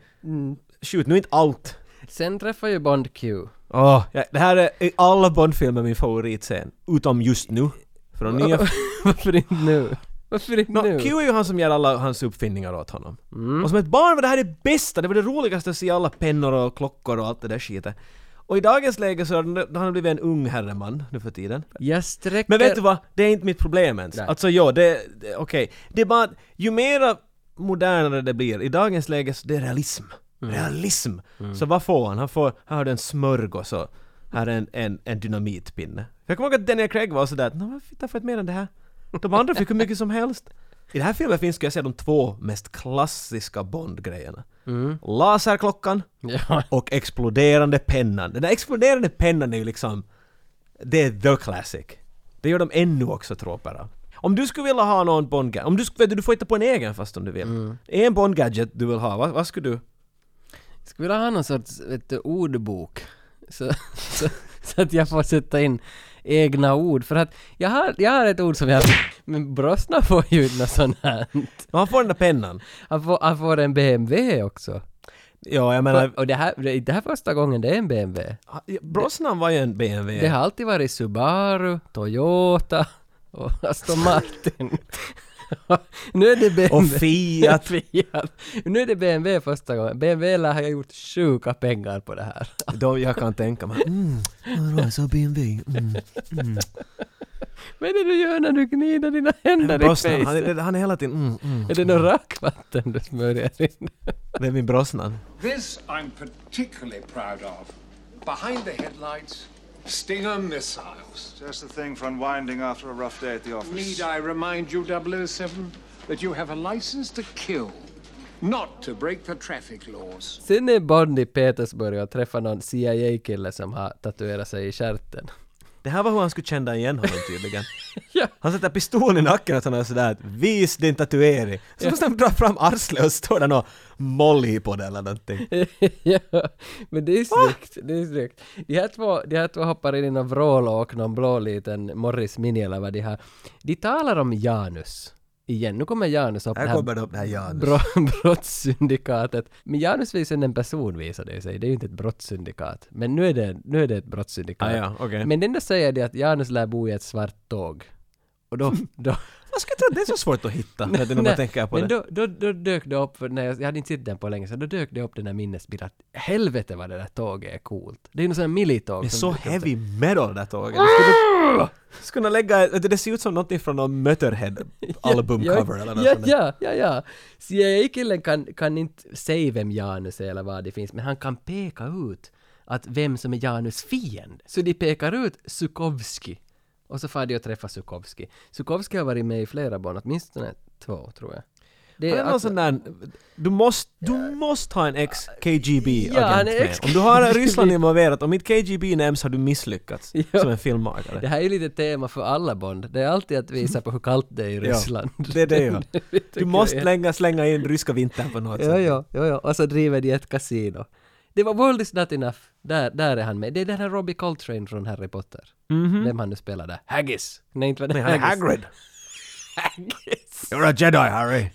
Speaker 1: skjut nu inte allt.
Speaker 2: Sen träffar ju Bond Q.
Speaker 1: Åh, ja, det här är i alla Bond-filmer min favoritscen, utom just nu. För de nya
Speaker 2: Varför inte nu? Varför inte
Speaker 1: Nå,
Speaker 2: nu?
Speaker 1: Q är ju han som ger alla hans uppfinningar åt honom. Och som ett barn var det här det bästa, det var det roligaste att se alla pennor och klockor och allt det där skitet. Och i dagens läge så har han- han har blivit en ung herreman nu för tiden.
Speaker 2: Jag sträcker...
Speaker 1: Men vet du vad? Det är inte mitt problem ens.
Speaker 2: Nej.
Speaker 1: Alltså ja, det, det okej. Det är bara, ju mera modernare det blir, i dagens läge så det är realism. Realism! Så vad får han? Han får, här har du en smörgås och här är en, en, en dynamitpinne. Jag kommer ihåg att Daniel Craig var sådär att "Nå, varför fick han fått mer än det här? De andra fick hur mycket som helst. I den här filmen finns, skulle jag säga, de två mest klassiska Bond-grejerna. Laserklockan
Speaker 2: Ja,
Speaker 1: och exploderande pennan. Den där exploderande pennan är ju liksom... Det är the classic. Det gör de ännu också tråper av. Om du skulle vilja ha någon bond gadget om du skulle, vet du, du får hitta på en egen fast om du vill. En bond gadget du vill ha, vad, vad skulle du?
Speaker 2: skulle vilja ha någon sorts, vet du, ordbok. Så, så, så att jag får sätta in egna ord. För att jag har, jag har ett ord som jag... Men Brosnan får ju inte något sånt här.
Speaker 1: Men han får den där pennan.
Speaker 2: Han får, han får en BMW också.
Speaker 1: Ja, jag menar...
Speaker 2: och det här, det det här är första gången det är en BMW.
Speaker 1: Brosnan var ju en BMW.
Speaker 2: Det har alltid varit Subaru, Toyota och Aston Martin. *laughs* nu är det BMW.
Speaker 1: Och Fiat.
Speaker 2: *laughs* Fiat. Nu är det BMW första gången. BMW lär ha gjort sjuka pengar på det här.
Speaker 1: Då jag kan tänka mig, mm, vadå, jag sa BMW. Mm, mm.
Speaker 2: Vad är det du gör när du gnider dina händer i
Speaker 1: Brosnan, han,
Speaker 2: fejset?
Speaker 1: är- han är hela tiden, mm, mm.
Speaker 2: Är det något rackvatten du smörjer in?
Speaker 1: Det är min Brosnan.
Speaker 12: This I'm particularly proud of. Behind the headlights, Stinger missiles.
Speaker 8: Just the thing for unwinding after a rough day at the office.
Speaker 12: Need I remind you, 007, that you have a license to kill, not to break the traffic laws.
Speaker 2: Sen är Bond i Petersburg och träffar någon CIA-kille som har tatuerat sig i stjärten.
Speaker 1: Det här var hur han skulle känna igen honom tydligen. Han sätter pistolen i nacken åt honom och sådär ”Vis din tatuering”. Så måste han dra fram arslet och står där och molly på det eller någonting.
Speaker 2: *laughs* ja, men det är snyggt. Det är snyggt. De här två, de här två hoppar in i någon vråla och någon blå liten Morris Mini eller vad de har. De talar om Janus. Igen, nu kommer Janus upp.
Speaker 1: Här
Speaker 2: det här
Speaker 1: kommer det upp, det här Janus.
Speaker 2: Bro, *laughs* brottssyndikatet. Men Janus visar en person visar det sig. Det är ju inte ett brottssyndikat. Men nu är det, nu är det ett brottssyndikat.
Speaker 1: Ah, ja, okej.
Speaker 2: Men det enda säger det att Janus lär bo i ett svart tåg.
Speaker 1: *laughs*
Speaker 2: Och då... då
Speaker 1: Jag skulle tro att det är så svårt att hitta, vet du, när
Speaker 2: Nej,
Speaker 1: man tänker på
Speaker 2: men
Speaker 1: det.
Speaker 2: Då, då, då dök det upp, för när jag, jag hade inte sett den på länge, så då dök det upp den här minnesbilden att helvete vad det där tåget är coolt. Det är ju något sånt här militåg.
Speaker 1: Det är
Speaker 2: som
Speaker 1: så
Speaker 2: dyker upp
Speaker 1: heavy metal det här tåget. Du skulle, du skulle kunna lägga, vet du, det ser ut som någonting från någon
Speaker 2: *laughs*
Speaker 1: Mutterhead albumcover eller något
Speaker 2: ja,
Speaker 1: sånt där.
Speaker 2: ja, ja, ja. CIA-killen kan, kan inte säga vem Janus är eller vad det finns, men han kan peka ut att vem som är Janus fiende. Så de pekar ut Sukovski. Och så far de och träffar Sukovski. Sukovski har varit med i flera barn, åtminstone två tror jag. Det alltså-
Speaker 1: Han är någon
Speaker 2: att-
Speaker 1: sån där, du måste, du måste ha en ex-KGB-agent
Speaker 2: Ja, han är
Speaker 1: med. Om du har Ryssland involverat, om inte KGB nämns har du misslyckats som en filmmakare.
Speaker 2: Det här är ju lite tema för alla Bond. Det är alltid att visa på hur kallt det är i Ryssland.
Speaker 1: Ja, det är *laughs* det
Speaker 2: *laughs*
Speaker 1: ju. Du
Speaker 2: tycker
Speaker 1: måste
Speaker 2: jag.
Speaker 1: slänga, slänga in ryska vintern på något
Speaker 2: Ja,
Speaker 1: sätt.
Speaker 2: ja, ja, ja. Och så driver de ett kasino. Det var World is not enough. Där, där är han med. Det är den här Robbie Coltrane från Harry Potter.
Speaker 1: Mhm.
Speaker 2: Vem han nu spelar där. Haggis! Nej, inte var det
Speaker 1: Nej, han är
Speaker 2: Haggis.
Speaker 1: Hagrid.
Speaker 2: Haggis!
Speaker 1: You're a jedi, Harry.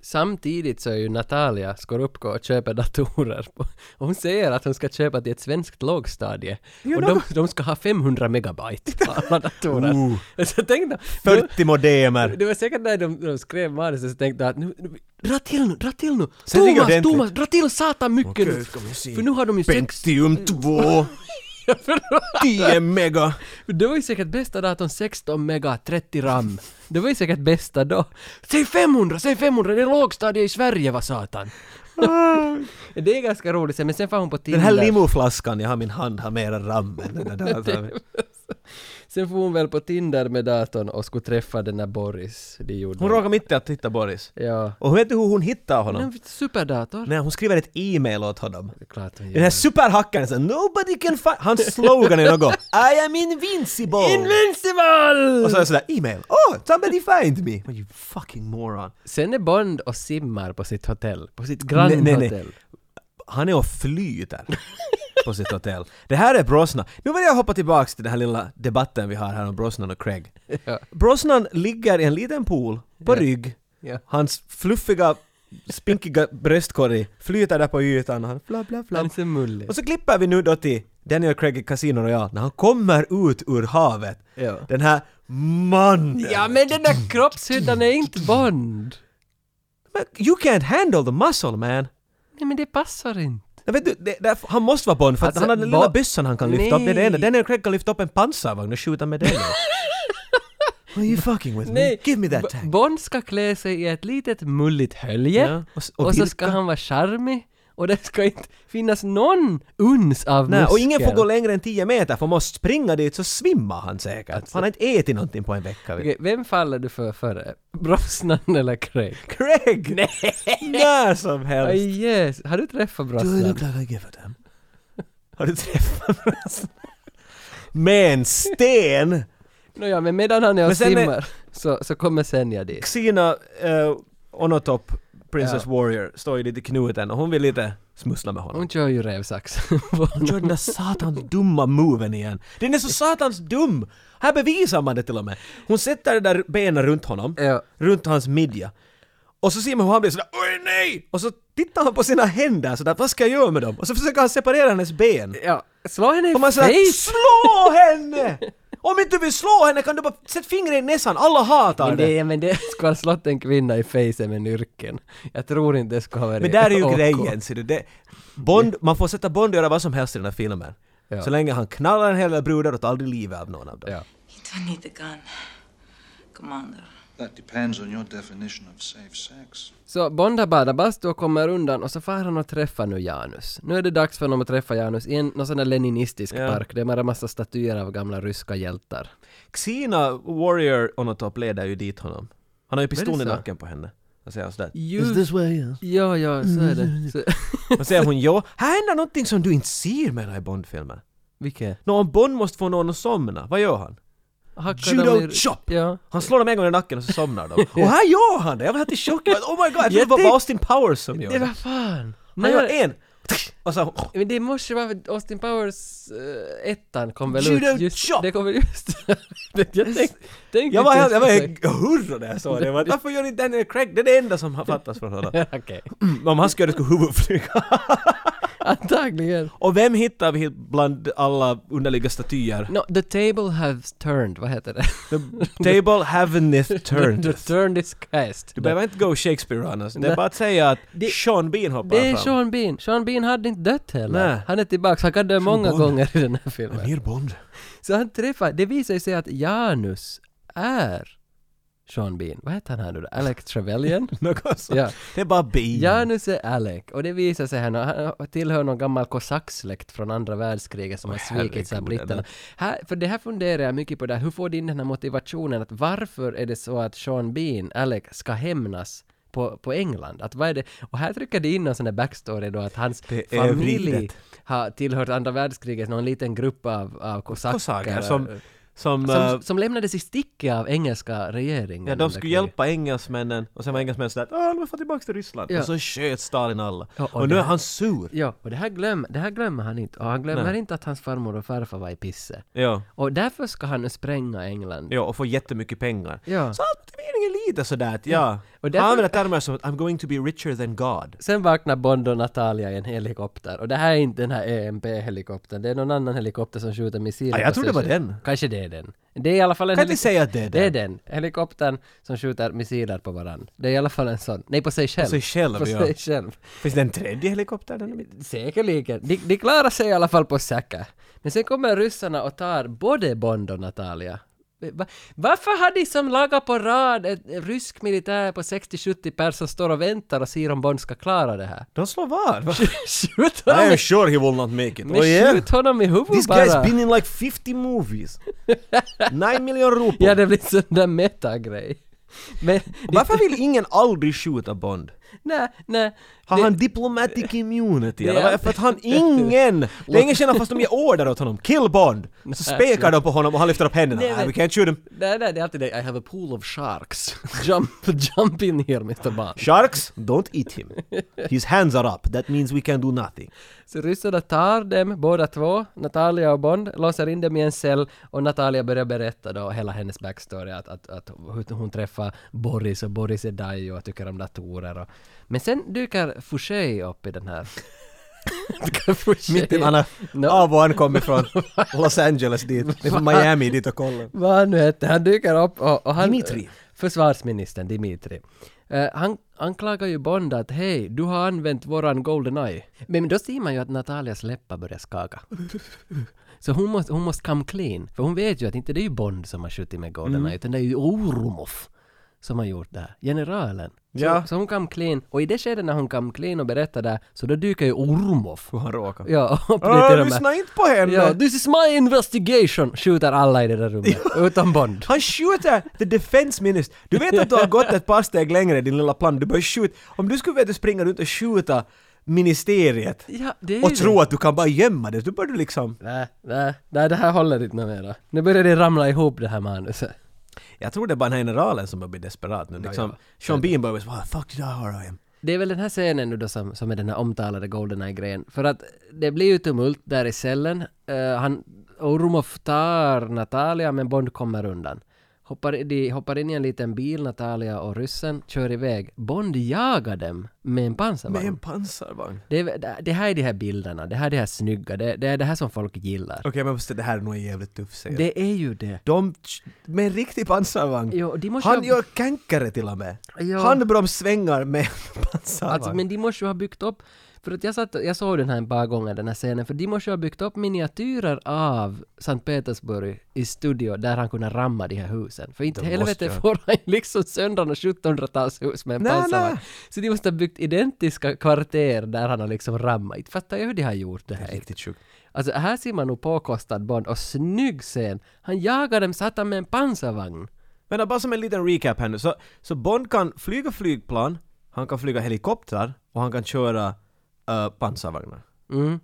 Speaker 2: Samtidigt så är ju Natalia Skorupko och köper datorer. *laughs* på- Och hon säger att hon ska köpa till ett svenskt lågstadie.
Speaker 1: Jo,
Speaker 2: och
Speaker 1: nå-
Speaker 2: de, de ska ha 500 megabyte alla datorer.
Speaker 1: Ooh.
Speaker 2: *laughs* Så tänk då,
Speaker 1: 40 modemer.
Speaker 2: Det var säkert när de, de skrev manuset så tänkte jag att nu, nu, dra till nu, dra till nu!
Speaker 1: Sätt igång
Speaker 2: Thomas,
Speaker 1: ordentligt.
Speaker 2: Thomas, dra till satan mycket
Speaker 1: Okej,
Speaker 2: nu!
Speaker 1: ska vi se.
Speaker 2: För nu har de ju sex...
Speaker 1: Pentium *laughs* 2. 10 mega.
Speaker 2: Det var ju säkert bästa datorn 16 mega 30 ram. Det var ju säkert bästa då. Säg 500, säg 500, det är lågstadie i Sverige va satan! *laughs* det är ganska roligt men sen får hon på Tinder.
Speaker 1: Ah. Den här limoflaskan jag har i min hand har mera ram än den där datorn. *laughs*
Speaker 2: Sen får hon väl på Tinder med datorn och skulle träffa den där Boris. Det gjorde
Speaker 1: Hon råkar mitt i att hitta Boris.
Speaker 2: Ja.
Speaker 1: Och vet du hur hon hittar honom?
Speaker 2: En superdator.
Speaker 1: Nej, hon skriver ett e-mail åt honom.
Speaker 2: Klart hon
Speaker 1: Den här superhackaren så “Nobody can find...” Hans slogan är något “I am invincible”.
Speaker 2: Invincible!
Speaker 1: Och så är det sådär “E-mail. Oh, somebody find me!” You fucking moron.
Speaker 2: Sen är Bond och simmar på sitt hotell, på sitt
Speaker 1: Nej,
Speaker 2: grannhotell.
Speaker 1: nej, nej. Han är och flyter på sitt hotell. Det här är Brosnan. Nu vill jag hoppa tillbaks till den här lilla debatten vi har här om Brosnan och Craig.
Speaker 2: *laughs* Ja.
Speaker 1: Brosnan ligger i en liten pool på
Speaker 2: Ja.
Speaker 1: rygg.
Speaker 2: Ja.
Speaker 1: Hans fluffiga, spinkiga bröstkorg flyter där på ytan. Han flapp, flapp,
Speaker 2: Han är
Speaker 1: flapp.
Speaker 2: så mullig.
Speaker 1: Och så klipper vi nu då till Daniel Craig i Casino Royale när han kommer ut ur havet.
Speaker 2: Ja.
Speaker 1: Den här mannen!
Speaker 2: Ja men den där kroppshyddan är inte Bond!
Speaker 1: Men You can't handle the muscle man!
Speaker 2: Nej men det passar inte.
Speaker 1: Nej, vet du, det, där, han måste vara Bond för
Speaker 2: Alltså,
Speaker 1: att han har den lilla
Speaker 2: Bond-
Speaker 1: bössan han kan lyfta upp. Det är det enda.
Speaker 2: Nej.
Speaker 1: Daniel Craig kan lyfta upp en pansarvagn och skjuta med den.
Speaker 2: *laughs*
Speaker 1: Are you fucking with me?
Speaker 2: Nej,
Speaker 1: Give me
Speaker 2: B-
Speaker 1: that tank!
Speaker 2: Bond ska klä sig i ett litet mulligt hölje
Speaker 1: Ja, och s-
Speaker 2: och,
Speaker 1: och
Speaker 2: så
Speaker 1: vilka?
Speaker 2: ska han vara charmig och det ska inte finnas någon uns av
Speaker 1: Nej, och
Speaker 2: muskel.
Speaker 1: ingen får gå längre än 10 meter för måste springa dit så svimmar han säkert.
Speaker 2: Alltså.
Speaker 1: han har inte ätit någonting på en vecka. vet du.
Speaker 2: Okej, vem faller du för före? Brosnan eller Craig? *laughs*
Speaker 1: Craig! När som
Speaker 2: Oh,
Speaker 1: helst!
Speaker 2: yes. Har du träffat
Speaker 1: Do you
Speaker 2: Brosnan?
Speaker 1: look like I give a damn? *laughs* Har du träffat Brosnan? Med en sten!
Speaker 2: Nåja, men medan han är och
Speaker 1: Men sen är-
Speaker 2: simmar så, så kommer Senja dit.
Speaker 1: Xena uh, Onotop, Princess
Speaker 2: Ja.
Speaker 1: Warrior, står ju lite knuten och hon vill lite smussla med honom.
Speaker 2: Hon kör ju *laughs* rävsax.
Speaker 1: Hon gör den
Speaker 2: *laughs*
Speaker 1: där satans dumma moven igen. Den är så satans dum! Här bevisar man det till och med. Hon sätter det där benen runt honom,
Speaker 2: Ja.
Speaker 1: runt hans midja. Och så ser man hur han blir sådär oj nej! Och så tittar han på sina händer sådär, vad ska jag göra med dem? Och så försöker han separera hennes ben.
Speaker 2: ja, slå henne i
Speaker 1: Och man sådär
Speaker 2: face!
Speaker 1: SLÅ HENNE! Om inte du vill slå henne kan du bara sätta fingret i näsan, alla hatar
Speaker 2: Men
Speaker 1: det.
Speaker 2: det, men det skulle ha slått en kvinna i facen med nyrken. Jag tror inte det skulle ha varit
Speaker 1: Men där är ju
Speaker 2: OK.
Speaker 1: grejen, ser du. Det, Bond, man får sätta Bond och göra vad som helst i den här filmen.
Speaker 2: Ja.
Speaker 1: Så länge han knallar en hel del brudar och tar aldrig livet av någon av dem.
Speaker 7: You don't need the gun, Commander.
Speaker 8: That depends on your definition of safe sex.
Speaker 2: Så Bonda badar bastu och kommer undan och så far han och träffar nu Janus. Nu är det dags för honom att träffa Janus i en någon sån där leninistisk
Speaker 1: Ja.
Speaker 2: park. Det är bara en massa statyer av gamla ryska hjältar.
Speaker 1: Xena Warrior Onotop leder ju dit honom. Han har ju
Speaker 2: Är
Speaker 1: pistolen
Speaker 2: det
Speaker 1: i
Speaker 2: så?
Speaker 1: nacken på henne. Han säger sådär.
Speaker 2: Ja, ja, så är det.
Speaker 1: *laughs*
Speaker 2: Så...
Speaker 1: Och säger hon ja. Här händer någonting som du inte ser menar i Bond-filmer.
Speaker 2: Vilket?
Speaker 1: Nå, om Bond måste få någon att somna, vad gör han?
Speaker 2: Hackar de
Speaker 1: Judo
Speaker 2: i-
Speaker 1: chop!
Speaker 2: Ja.
Speaker 1: Han slår dem en gång i nacken och så somnar de.
Speaker 2: *laughs*
Speaker 1: Och här gör han det! Jag var helt i chock. Jag bara, Oh my god, jag trodde det var
Speaker 2: Jätte-
Speaker 1: Austin Powers som
Speaker 2: Det
Speaker 1: gjorde
Speaker 2: var
Speaker 1: det.
Speaker 2: fan!
Speaker 1: Han gör
Speaker 2: Nej,
Speaker 1: en! Och
Speaker 2: *laughs*
Speaker 1: så...
Speaker 2: Men det måste vara Austin Powers eh, ettan kom väl
Speaker 1: Judo
Speaker 2: ut just...
Speaker 1: chop!
Speaker 2: Det kom väl just... *laughs* jag tänkte... tänkte
Speaker 1: Jag var helt,
Speaker 2: inte
Speaker 1: jag var
Speaker 2: ens på
Speaker 1: helt hurra när jag såg det. Jag bara, Varför gör inte Daniel Craig? Det är det enda som har fattats från honom.
Speaker 2: *laughs* det. Okej.
Speaker 1: Om han skulle göra det skulle huvudet
Speaker 2: *laughs*
Speaker 1: flyga.
Speaker 2: Antagligen.
Speaker 1: Och vem hittar vi bland alla underliga statyer?
Speaker 2: No, the table has turned, vad heter det?
Speaker 1: The table haven't
Speaker 2: *laughs* the
Speaker 1: turned.
Speaker 2: turned is cast.
Speaker 1: *laughs* Du behöver inte gå Shakespeare annars. Det är
Speaker 2: Nej.
Speaker 1: bara att säga att
Speaker 2: Det-
Speaker 1: Sean Bean hoppar
Speaker 2: Det är
Speaker 1: fram.
Speaker 2: Sean Bean. Sean Bean hade inte dött heller.
Speaker 1: Nej.
Speaker 2: Han är tillbaka. Han kan dö många
Speaker 1: Bond.
Speaker 2: gånger i den här filmen.
Speaker 1: Mer Bond.
Speaker 2: Så han träffar... Det visar ju sig att Janus är Sean Bean. Vad heter han här nu då? Alex Trevelyan?
Speaker 1: *laughs* Något sånt.
Speaker 2: ja.
Speaker 1: Det är bara Bean.
Speaker 2: Janus är Alec och det visar sig här nu, han tillhör någon gammal kosacksläkt från andra världskriget som
Speaker 1: Oj,
Speaker 2: har svikits av
Speaker 1: herregud,
Speaker 2: britterna.
Speaker 1: eller?
Speaker 2: Här, för det här funderar jag mycket på, där. hur får du in den här motivationen att varför är det så att Sean Bean, Alec, ska hämnas på, på England? Att vad är det? Och här trycker det in någon sån där backstory då att hans
Speaker 1: Det är
Speaker 2: familj
Speaker 1: vridet.
Speaker 2: har tillhört andra världskriget någon liten grupp av, av kosacker.
Speaker 1: Kosaker som... Som, eh,
Speaker 2: som, som lämnades i sticket av engelska regeringen.
Speaker 1: ja,
Speaker 2: under
Speaker 1: de skulle
Speaker 2: kriget.
Speaker 1: hjälpa engelsmännen och sen var engelsmännen sådär att ah, låt få tillbaka till Ryssland.
Speaker 2: Ja.
Speaker 1: Och så sköt Stalin alla.
Speaker 2: Ja,
Speaker 1: och
Speaker 2: och
Speaker 1: nu
Speaker 2: det-
Speaker 1: är han sur.
Speaker 2: Ja, och det här, glöm, det här glömmer han inte. Och han glömmer
Speaker 1: Nej.
Speaker 2: inte att hans farmor och farfar var i pisse.
Speaker 1: Ja.
Speaker 2: Och därför ska han nu spränga England.
Speaker 1: Ja, och får jättemycket pengar.
Speaker 2: Ja.
Speaker 1: Så hans motivering är lite sådär att ja.
Speaker 2: Och
Speaker 1: Han
Speaker 2: därför-
Speaker 1: använder termer som att I'm going to be richer than God.
Speaker 2: Sen vaknar Bond och Natalia i en helikopter. Och det här är inte den här EMP-helikoptern. Det är någon annan helikopter som skjuter missiler.
Speaker 1: Ah, jag
Speaker 2: på
Speaker 1: trodde det var
Speaker 2: sig själv.
Speaker 1: den.
Speaker 2: Kanske det är den. Det är i alla fall en
Speaker 1: Kan ni
Speaker 2: helik-
Speaker 1: säga att det är
Speaker 2: Det är
Speaker 1: den?
Speaker 2: den. Helikoptern som skjuter missiler på varandra. Det är i alla fall en sån. Nej, på sig själv.
Speaker 1: sig själv,
Speaker 2: På
Speaker 1: ja.
Speaker 2: sig själv.
Speaker 1: Finns det en tredje helikopter? Den är mitt?
Speaker 2: Säkerligen. De, de klarar sig i alla fall på säker. Men sen kommer ryssarna och tar både Bond och Natalia. Va, varför har de som lagar på rad ett rysk militär på 60-70 pers som står och väntar och ser om Bond ska klara det *laughs* här?
Speaker 1: De slår vad?
Speaker 2: *laughs*
Speaker 1: Va?
Speaker 2: Skjut honom,
Speaker 1: I'm
Speaker 2: i-
Speaker 1: sure he will not make it.
Speaker 2: men skjut honom i huvudet
Speaker 1: This guy's
Speaker 2: bara!
Speaker 1: been in like 50
Speaker 2: *laughs*
Speaker 1: movies. 9 miljoner rupor.
Speaker 2: Ja, det blir sån där meta-grej. Men...
Speaker 1: Varför vill ingen aldrig skjuta Bond?
Speaker 2: Nej, nej.
Speaker 1: Har
Speaker 2: det-
Speaker 1: han diplomatic immunity?
Speaker 2: Det
Speaker 1: Eller
Speaker 2: är-
Speaker 1: vad är- för att
Speaker 2: *laughs*
Speaker 1: han ingen... Det är ingen känner fast de ger order åt honom. Kill Bond! Så spekar de på honom och han lyfter upp händerna.
Speaker 2: Nej,
Speaker 1: Nej,
Speaker 2: men-
Speaker 1: we can't shoot him.
Speaker 2: Nej, nej, det är alltid det. I have a pool of sharks. *laughs* Jump, jump in here, Mr. Bond.
Speaker 1: Sharks, don't eat him. His hands are up. That means we can do
Speaker 2: *laughs*
Speaker 1: nothing.
Speaker 2: Så ryssarna tar dem båda två, Natalia och Bond, låser in dem i en cell och Natalia börjar berätta då hela hennes backstory att, att, att hur hon träffar Boris och Boris är daj och tycker om datorer och... Men sen dyker Fouché upp i den här... *laughs* Dyker Fouché-
Speaker 1: Mitt i alla
Speaker 2: No.
Speaker 1: av och an kommer från Los Angeles dit. Det är från Miami dit och kollar.
Speaker 2: Vad han nu heter, han dyker upp och, och han...
Speaker 1: Dimitri.
Speaker 2: Försvarsministern Dimitri. Eh, han anklagar ju Bond att hej, du har använt våran Goldeneye. Men då ser man ju att Natalias läppar börjar skaka. Så hon måste, hon måste come clean. För hon vet ju att inte det är ju Bond som har skjutit med Goldeneye,
Speaker 1: Mm.
Speaker 2: utan det är ju Orumov som har gjort det här. Generalen. Så,
Speaker 1: Ja.
Speaker 2: så hon come clean. Och i det skedet när hon come clean och berättar det, här, så då dyker ju Orumov
Speaker 1: Hur han råkar.
Speaker 2: Ja, *laughs* upp det
Speaker 1: Åh,
Speaker 2: till de här-
Speaker 1: lyssna inte på henne!
Speaker 2: Ja, this is my investigation! Skjuter alla i det där rummet,
Speaker 1: *laughs*
Speaker 2: utan Bond.
Speaker 1: Han skjuter the defense minister. Du vet att du har gått ett par steg längre i din lilla plan. Du börjar skjuta. Om du skulle veta springa runt och skjuta ministeriet
Speaker 2: Ja, det är ju
Speaker 1: och tro
Speaker 2: det.
Speaker 1: att du kan bara gömma det, då börjar du liksom...
Speaker 2: Nej, nej, nej, det här håller inte mera. Nu börjar det ramla ihop det här manuset.
Speaker 1: Jag tror det är bara den här generalen som börjar bli desperat nu. Liksom, Sean Bean börjar bli så, "Wow, fuck did I hire him?
Speaker 2: Det är väl den här scenen nu då som, som är den här omtalade Goldeneye-grejen. För att det blir ju tumult där i cellen. Eh, han, Orumov tar Natalia men Bond kommer undan. Hoppar, de hoppar in i en liten bil, Natalia och ryssen, kör iväg. Bond jagar dem med en pansarvagn.
Speaker 1: Med en pansarvagn?
Speaker 2: Det, är- det här är de här bilderna, det här är det här snygga, det, det är det här som folk gillar.
Speaker 1: Okej, men måste, det här är nog en jävligt tuff scen.
Speaker 2: Det är ju det.
Speaker 1: De, med en riktig pansarvagn.
Speaker 2: Jo, de måste
Speaker 1: Han
Speaker 2: ju ha-
Speaker 1: gör känkare till och med.
Speaker 2: Ja.
Speaker 1: Handbromssvängar med en pansarvagn.
Speaker 2: Alltså, men de måste ju ha byggt upp... För att jag, satt, jag såg den här ett par gånger, den här scenen, för de måste ju ha byggt upp miniatyrer av Sankt Petersburg i studio där han kunde ramma de här husen. För inte
Speaker 1: Det måste
Speaker 2: helvete
Speaker 1: jag.
Speaker 2: får han ju liksom sönder något 1700-talshus med en
Speaker 1: Nej,
Speaker 2: pansarvagn.
Speaker 1: nej.
Speaker 2: Så de måste ha byggt identiska kvarter där han har liksom rammat. Inte fattar jag hur de har gjort det här.
Speaker 1: Riktigt sjukt.
Speaker 2: Alltså här ser man nog påkostad Bond och snygg scen. Han jagar dem satan med en pansarvagn.
Speaker 1: Men då bara som en liten recap här nu. Så, så Bond kan flyga flygplan, han kan flyga helikoptrar och han kan köra eh, pansarvagnar.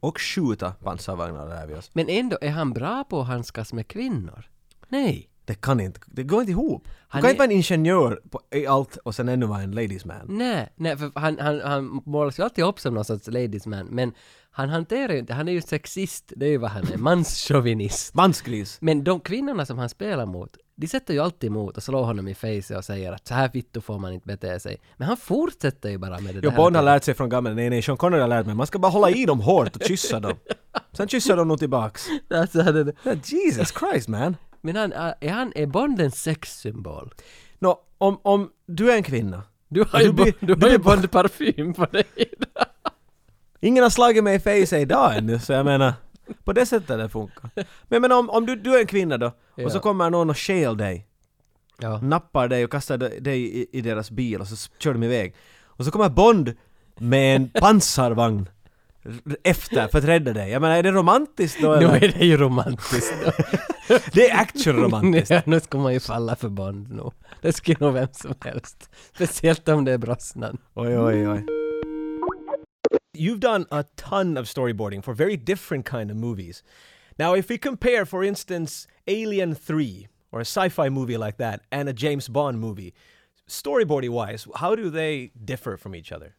Speaker 1: Och skjuta pansarvagnar lär vi oss.
Speaker 2: Men ändå, är han bra på att handskas med kvinnor? Nej.
Speaker 1: Det kan inte, det går inte ihop. Du
Speaker 2: Han
Speaker 1: kan
Speaker 2: är-
Speaker 1: inte vara en ingenjör på, i allt och sen ännu vara en ladies man.
Speaker 2: Nej, nej för han, han, han målas ju alltid upp som någon sorts ladies man, men han hanterar ju inte, han är ju sexist, det är ju vad han är, manschauvinist.
Speaker 1: Mansgris.
Speaker 2: Men de kvinnorna som han spelar mot, de sätter ju alltid emot och slår honom i face och säger att så här vittu får man inte bete sig. Men han fortsätter ju bara med det
Speaker 1: Jo,
Speaker 2: där.
Speaker 1: Bond har lärt sig från gamla, nej nej, Sean Connery har lärt mig, man ska bara hålla i dem hårt och kyssa *laughs* dem. Sen kysser de nog tillbaks.
Speaker 2: *laughs* Alltså, han är-
Speaker 1: Ja, Jesus Christ man!
Speaker 2: men han, är, han, är Bond en sexsymbol?
Speaker 1: Nå, om, om du är en kvinna,
Speaker 2: Du har
Speaker 1: Du
Speaker 2: ju,
Speaker 1: blir-
Speaker 2: Bond- du
Speaker 1: du
Speaker 2: har ju
Speaker 1: blir bara-
Speaker 2: Bond-parfym på dig.
Speaker 1: Ingen har slagit mig i face idag ännu, så jag menar, på det sättet det funkar. Men, men om, om du, du är en kvinna då, och
Speaker 2: Ja.
Speaker 1: så kommer någon och stjäl dig,
Speaker 2: Ja.
Speaker 1: nappar dig och kastar dig- dig i, i deras bil och så s- kör de iväg. Och så kommer Bond med
Speaker 2: *laughs*
Speaker 1: en pansarvagn r- efter för att rädda dig. Jag menar, är det romantiskt då
Speaker 2: Nu
Speaker 1: eller?
Speaker 2: är det ju romantiskt.
Speaker 1: *laughs* Det är action romantiskt.
Speaker 2: Ja, nu ska man ju falla för Bond nu. Det skulle nog vem som helst. Speciellt om det är brosnan.
Speaker 1: Oj, oj, oj. You've done a ton of storyboarding for very different kind of movies. Now, if we compare, for instance, Alien 3 or a sci-fi movie like that and a James Bond movie, storyboarding wise, how do they differ from each other?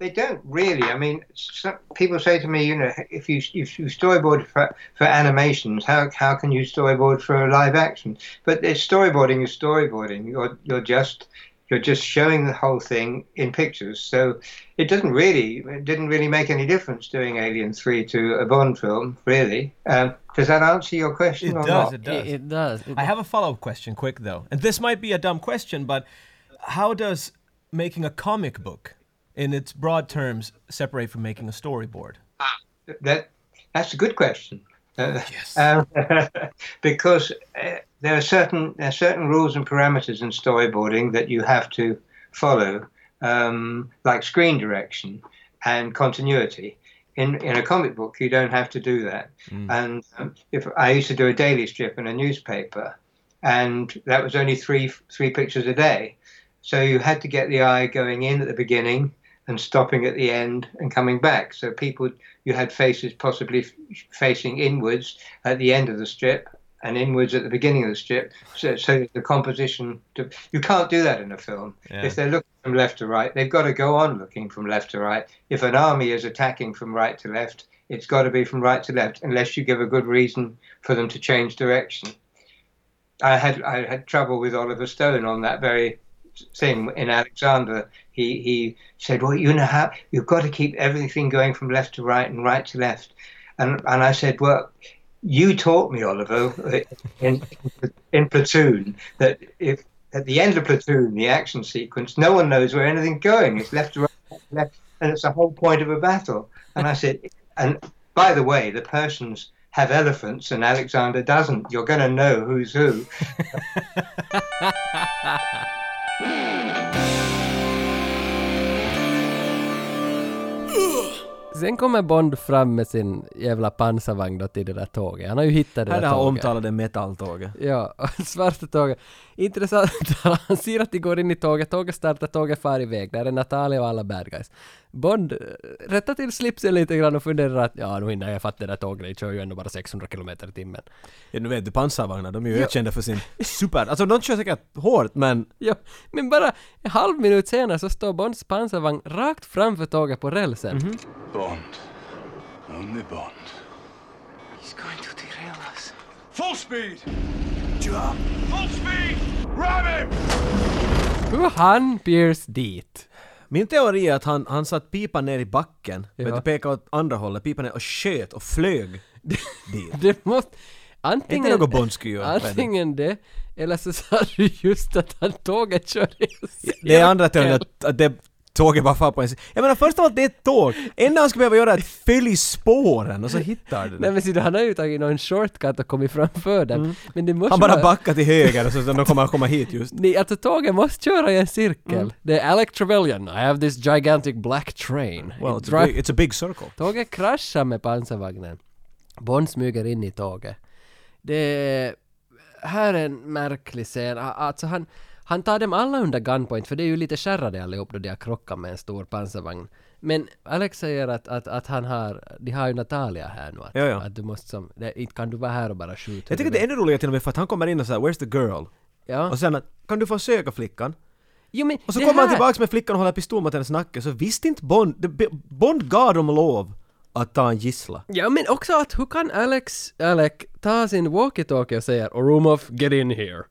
Speaker 4: They don't really. I mean, some, people say to me, you know, if you if you storyboard for, for animations, how how can you storyboard for live action? But it's storyboarding is storyboarding. You're you're just you're just showing the whole thing in pictures. So it doesn't really it didn't really make any difference doing Alien Three to a Bond film, really. Um, does that answer your question or not?
Speaker 2: It, it does. It-
Speaker 1: I have a follow-up question, quick though, and this might be a dumb question, but how does making a comic book, in its broad terms, separate from making a storyboard?
Speaker 4: That that's a good question. *laughs* Uh, um, because uh, there are certain there are certain rules and parameters in storyboarding that you have to follow, um, like screen direction and continuity. In in a comic book, you don't have to do that. And um, if I used to do a daily strip in a newspaper, and that was only three three pictures a day, so you had to get the eye going in at the beginning and stopping at the end and coming back. So people, you had faces possibly f- facing inwards at the end of the strip and inwards at the beginning of the strip. So, so that the composition, to, you can't do that in a film.
Speaker 1: Yeah.
Speaker 4: If they're looking from left to right, they've got to go on looking from left to right. If an army is attacking from right to left, it's got to be from right to left, unless you give a good reason for them to change direction. I had I had trouble with Oliver Stone on that very thing in Alexander. He he said, "Well, you know how you've got to keep everything going from left to right and right to left," and and I said, "Well." You taught me, Oliver, uh, in, in platoon, that if at the end of platoon, the action sequence, no one knows where anything's going. It's left to right, left to left, and it's the whole point of a battle. And I said, and by the way, the Persians have elephants, and Alexander doesn't. You're going to know who's who.
Speaker 2: Sen kommer Bond fram med sin jävla pansarvagn då till det där tåget. Han har ju hittat det
Speaker 1: Här
Speaker 2: där
Speaker 1: har
Speaker 2: tåget.
Speaker 1: omtalade metalltåget.
Speaker 2: Ja, *laughs* och svarta tåget. Intressant, han ser att de går in i tåget, tåget startar, tåget far iväg. Där är Natalia och alla bad guys. Bond eh, rättar till slipsen lite grann och funderar att ja, nu hinner jag fatta det där tåget, det kör ju ändå bara 600 kilometer i timmen.
Speaker 1: Ja, nu vet du pansarvagnar, de är ju
Speaker 2: Ja.
Speaker 1: ökända för sin super... Alltså de kör säkert hårt men...
Speaker 2: *laughs* Ja, men bara en halv minut senare så står Bonds pansarvagn rakt framför tåget på rälsen.
Speaker 1: Mhm.
Speaker 8: Bond. Only Bond.
Speaker 7: He's going to derail us.
Speaker 8: Full speed!
Speaker 5: what you are. Full speed! Ram him!
Speaker 2: Hur han Pierce dit?
Speaker 1: Min teori är att han, han satt pipan ner i backen, men det pekade åt andra hållet, pipan ner och sköt och *laughs* flög dit.
Speaker 2: Det måste... Antingen...
Speaker 1: Inte något Bond skulle göra,
Speaker 2: Antingen det, eller så sa du just att han tåget körde
Speaker 1: Det är andra teorin att, att det tåget bara far på en si- Jag menar först av allt, det är ett tåg. Enda han skulle behöva göra är att följa spåren och så hittar det.
Speaker 2: Nej men ser du, han har ju tagit någon shortcut och kommit framför dem. Men det måste
Speaker 1: Mm. Han bara
Speaker 2: vara-
Speaker 1: backar till höger och så så de kommer han komma hit just.
Speaker 2: Nej, alltså tåget måste köra i en cirkel.
Speaker 1: Mm.
Speaker 2: Det är Alec Trevelyan, I have this gigantic black train.
Speaker 1: Well,
Speaker 2: It
Speaker 1: it's a
Speaker 2: drive-
Speaker 1: big, it's a big circle.
Speaker 2: Tåget kraschar med pansarvagnen. Bond smyger in i tåget. Det här är en märklig scen. A- Alltså han, han tar dem alla under gunpoint, för det är ju lite skärrade allihop då de har krockat med en stor pansarvagn. Men Alex säger att, att, att han har, de har ju Natalia här nu. Att,
Speaker 1: Ja, ja.
Speaker 2: att du måste som, det, inte kan du vara här och bara skjuta.
Speaker 1: Jag tycker det är ännu roligare till och med för att han kommer in och säger “Where's the girl?”
Speaker 2: Ja.
Speaker 1: och sen att “Kan du få söka flickan?”
Speaker 2: Jo, men
Speaker 1: och så
Speaker 2: det
Speaker 1: kommer han
Speaker 2: här-
Speaker 1: tillbaks med flickan och håller pistol mot hennes nacke så visste inte Bond, det- B- Bond gav dem lov att ta en gissla.
Speaker 2: Ja men också att hur kan Alex, Alec ta sin walkie-talkie och säga Orumov get in here.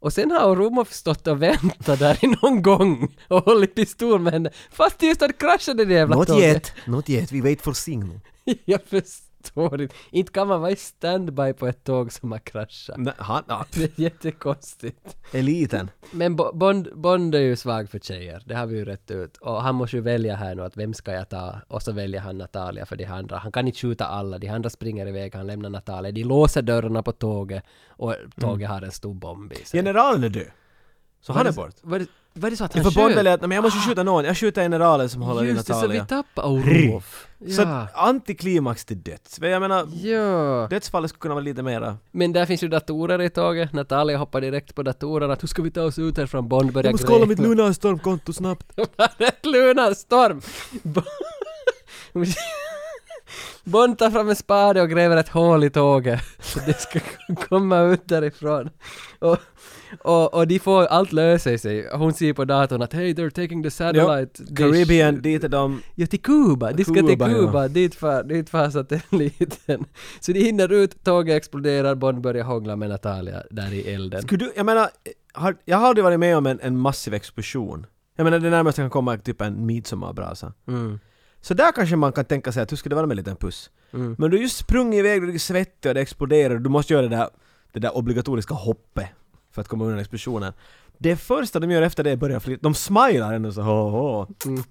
Speaker 2: Och sen har Orumov stått och väntat där i någon gång och hållit pistol med henne. Fast det just hade kraschat i det jävla
Speaker 1: Not
Speaker 2: tåget.
Speaker 1: yet, not yet, we wait for signal.
Speaker 2: *laughs* Jag förstår inte. Inte kan man vara i standby på ett tåg som har kraschat.
Speaker 1: Nej, han, ja,
Speaker 2: Det är jättekonstigt.
Speaker 1: eliten.
Speaker 2: Men Bo- Bond, Bond är ju svag för tjejer, det har vi ju rätt ut. Och han måste ju välja här nu att vem ska jag ta? Och så väljer han Natalia för de andra. Han kan inte skjuta alla, de andra springer iväg, han lämnar Natalia. De låser dörrarna på tåget och tåget har en stor bomb i sig.
Speaker 1: Generalen är död. Så Mm. han är bort.
Speaker 2: Var det, var det så att
Speaker 1: Ja,
Speaker 2: han
Speaker 1: för Bond
Speaker 2: sköt?
Speaker 1: väljer att "Nej, men jag måste skjuta någon, jag skjuter generalen som håller i
Speaker 2: Just det, så
Speaker 1: Natalia.
Speaker 2: vi tappar Orlov.
Speaker 1: Så
Speaker 2: Ja.
Speaker 1: att antiklimax till döds. Men Jag menar,
Speaker 2: ja.
Speaker 1: dödsfallet skulle kunna vara lite mera...
Speaker 2: Men där finns ju datorer i tåget. Natalia hoppar direkt på datorerna. Hur ska vi ta oss ut härifrån? Bond börjar
Speaker 1: Jag måste kolla mitt
Speaker 2: gräta.
Speaker 1: Lunarstorm-konto
Speaker 2: *laughs*
Speaker 1: snabbt.
Speaker 2: Ett lunarstorm! Bond tar fram en spade och gräver ett hål i tåget. Så det ska komma ut därifrån. Och, och, och de får, allt löser sig. Hon ser på datorn att hey they're taking the satellite dish."
Speaker 1: Caribbean, dit är de...
Speaker 2: Ja, till Kuba! De ska
Speaker 1: Kuba,
Speaker 2: till
Speaker 1: ja.
Speaker 2: Kuba, dit far, dit far satelliten. Så de hinner ut, tåget exploderar, Bond börjar hångla med Natalia där i elden.
Speaker 1: Skulle du, jag menar, har, jag har aldrig varit med om en, en massiv explosion. Jag menar det närmaste kan komma är typ en midsommarbrasa.
Speaker 2: Mm.
Speaker 1: Så där kanske man kan tänka sig att hur skulle det vara med en liten puss?
Speaker 2: Mm.
Speaker 1: Men du har just sprungit iväg, du är svettig och det exploderar och du måste göra det där, det där obligatoriska hoppet för att komma undan explosionen. Det första de gör efter det är att börja flytta, de smilar ändå så "Åh, åh."
Speaker 2: Mm.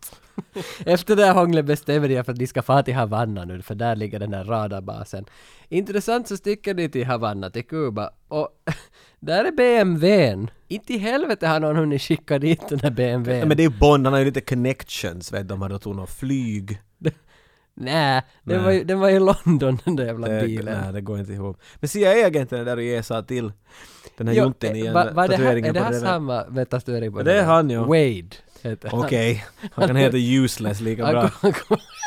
Speaker 2: Efter det här hånglet bestämmer de för att de ska fara till Havanna nu, för där ligger den där radarbasen. Intressant så sticker de till Havanna, till Kuba, och *laughs* där är BMWn. Inte i helvete har någon hunnit skicka dit den där
Speaker 1: Ja,
Speaker 2: BMWn.
Speaker 1: men det är ju Bond, han har ju lite connections, vet du, de hade tagit något flyg.
Speaker 2: Nä, den
Speaker 1: Nej.
Speaker 2: var, ju- den var i London den där jävla
Speaker 1: Det,
Speaker 2: bilen.
Speaker 1: Eh, nej, det går inte ihop. Men CIA-agenten är där och jäsar till den här
Speaker 2: Jo,
Speaker 1: junten
Speaker 2: eh,
Speaker 1: igen,
Speaker 2: va- va det här,
Speaker 1: tatueringen
Speaker 2: är det
Speaker 1: på
Speaker 2: här
Speaker 1: revven.
Speaker 2: samma med tatuering på
Speaker 1: Det är
Speaker 2: revven?
Speaker 1: han, ja.
Speaker 2: Wade heter han.
Speaker 1: *laughs* Okej, han kan heta Useless lika
Speaker 2: Han
Speaker 1: bra.
Speaker 2: går- han går- *laughs*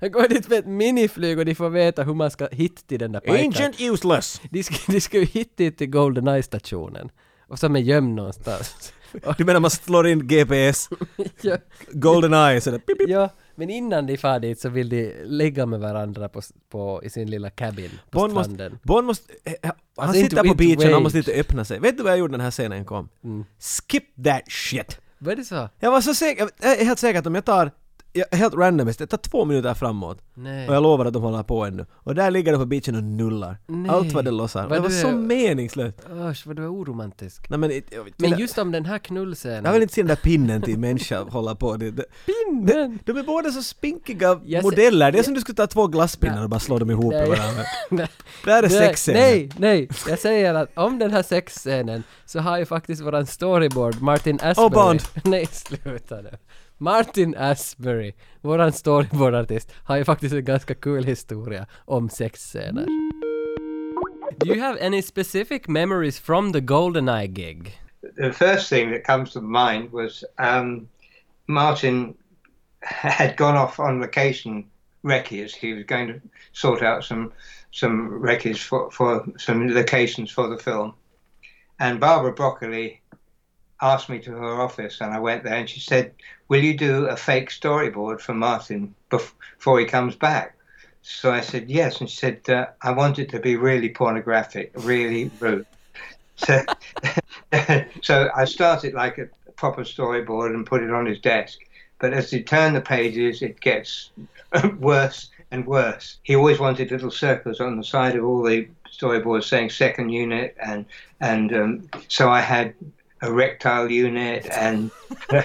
Speaker 2: Han går dit med ett miniflyg och de får veta hur man ska hit till den där pajkan.
Speaker 1: Ancient Useless!
Speaker 2: De ska, de ska ju hit dit till Goldeneye-stationen. Och som är gömd någonstans. Och,
Speaker 1: *laughs* Du menar man slår in GPS,
Speaker 2: ja,
Speaker 1: Golden Eye, så det pip, pip.
Speaker 2: ja, men innan de far dit så vill de ligga med varandra på, s- på, i sin lilla cabin på
Speaker 1: Bond
Speaker 2: stranden.
Speaker 1: måste, Bond måste, eh, han
Speaker 2: Alltså,
Speaker 1: sitter
Speaker 2: inte-
Speaker 1: på
Speaker 2: inte
Speaker 1: beachen,
Speaker 2: wait.
Speaker 1: han måste inte öppna sig. Vet du vad jag gjorde när den här scenen kom?
Speaker 2: Mm.
Speaker 1: Skip that shit!
Speaker 2: Vad är det så?
Speaker 1: Jag var så säker, jag är helt säker att om jag tar, jag är helt randomist, jag tar två minuter framåt.
Speaker 2: Nej.
Speaker 1: Och jag lovar att de håller på ännu. Och där ligger de på beachen och nullar.
Speaker 2: Nej.
Speaker 1: Allt vad det lossar.
Speaker 2: Vad
Speaker 1: det var
Speaker 2: du är-
Speaker 1: så meningslöst.
Speaker 2: Usch, vad du är oromantisk.
Speaker 1: Nej men, jag, jag,
Speaker 2: Men just om den här knullscenen.
Speaker 1: jag vill inte se den där pinnen till människa hålla på. Det, det,
Speaker 2: Pinnen!
Speaker 1: De är båda så spinkiga
Speaker 2: Jag ser-
Speaker 1: modeller. Det är som du skulle ta två glasspinnar och bara slå dem ihop med
Speaker 2: *laughs* Nej. *laughs*
Speaker 1: varandra. Där är
Speaker 2: Nej,
Speaker 1: sexscenen.
Speaker 2: Nej, nej! Jag säger att om den här sexscenen så har ju faktiskt våran storyboard Martin Asbury...
Speaker 1: Åh, Bond.
Speaker 2: *laughs* Nej, sluta nu. Martin Asbury, våran storyboardartist, har ju faktiskt en ganska kul historia om sexscener. Do you have any specific memories from the Goldeneye gig?
Speaker 4: the first thing that comes to mind was um, Martin had gone off on vacation recce. He was going to sort out some some recce's for, for some locations for the film. And Barbara Broccoli asked me to her office, and I went there, and she said, "Will you do a fake storyboard for Martin bef- before he comes back?" So I said yes, and she said, uh, "I want it to be really pornographic, really rude." *laughs* so, *laughs* so I started like a proper storyboard and put it on his desk. But as you turn the pages, it gets *laughs* worse and worse. He always wanted little circles on the side of all the storyboards saying second unit, and and um, so I had a rectile unit and. *laughs*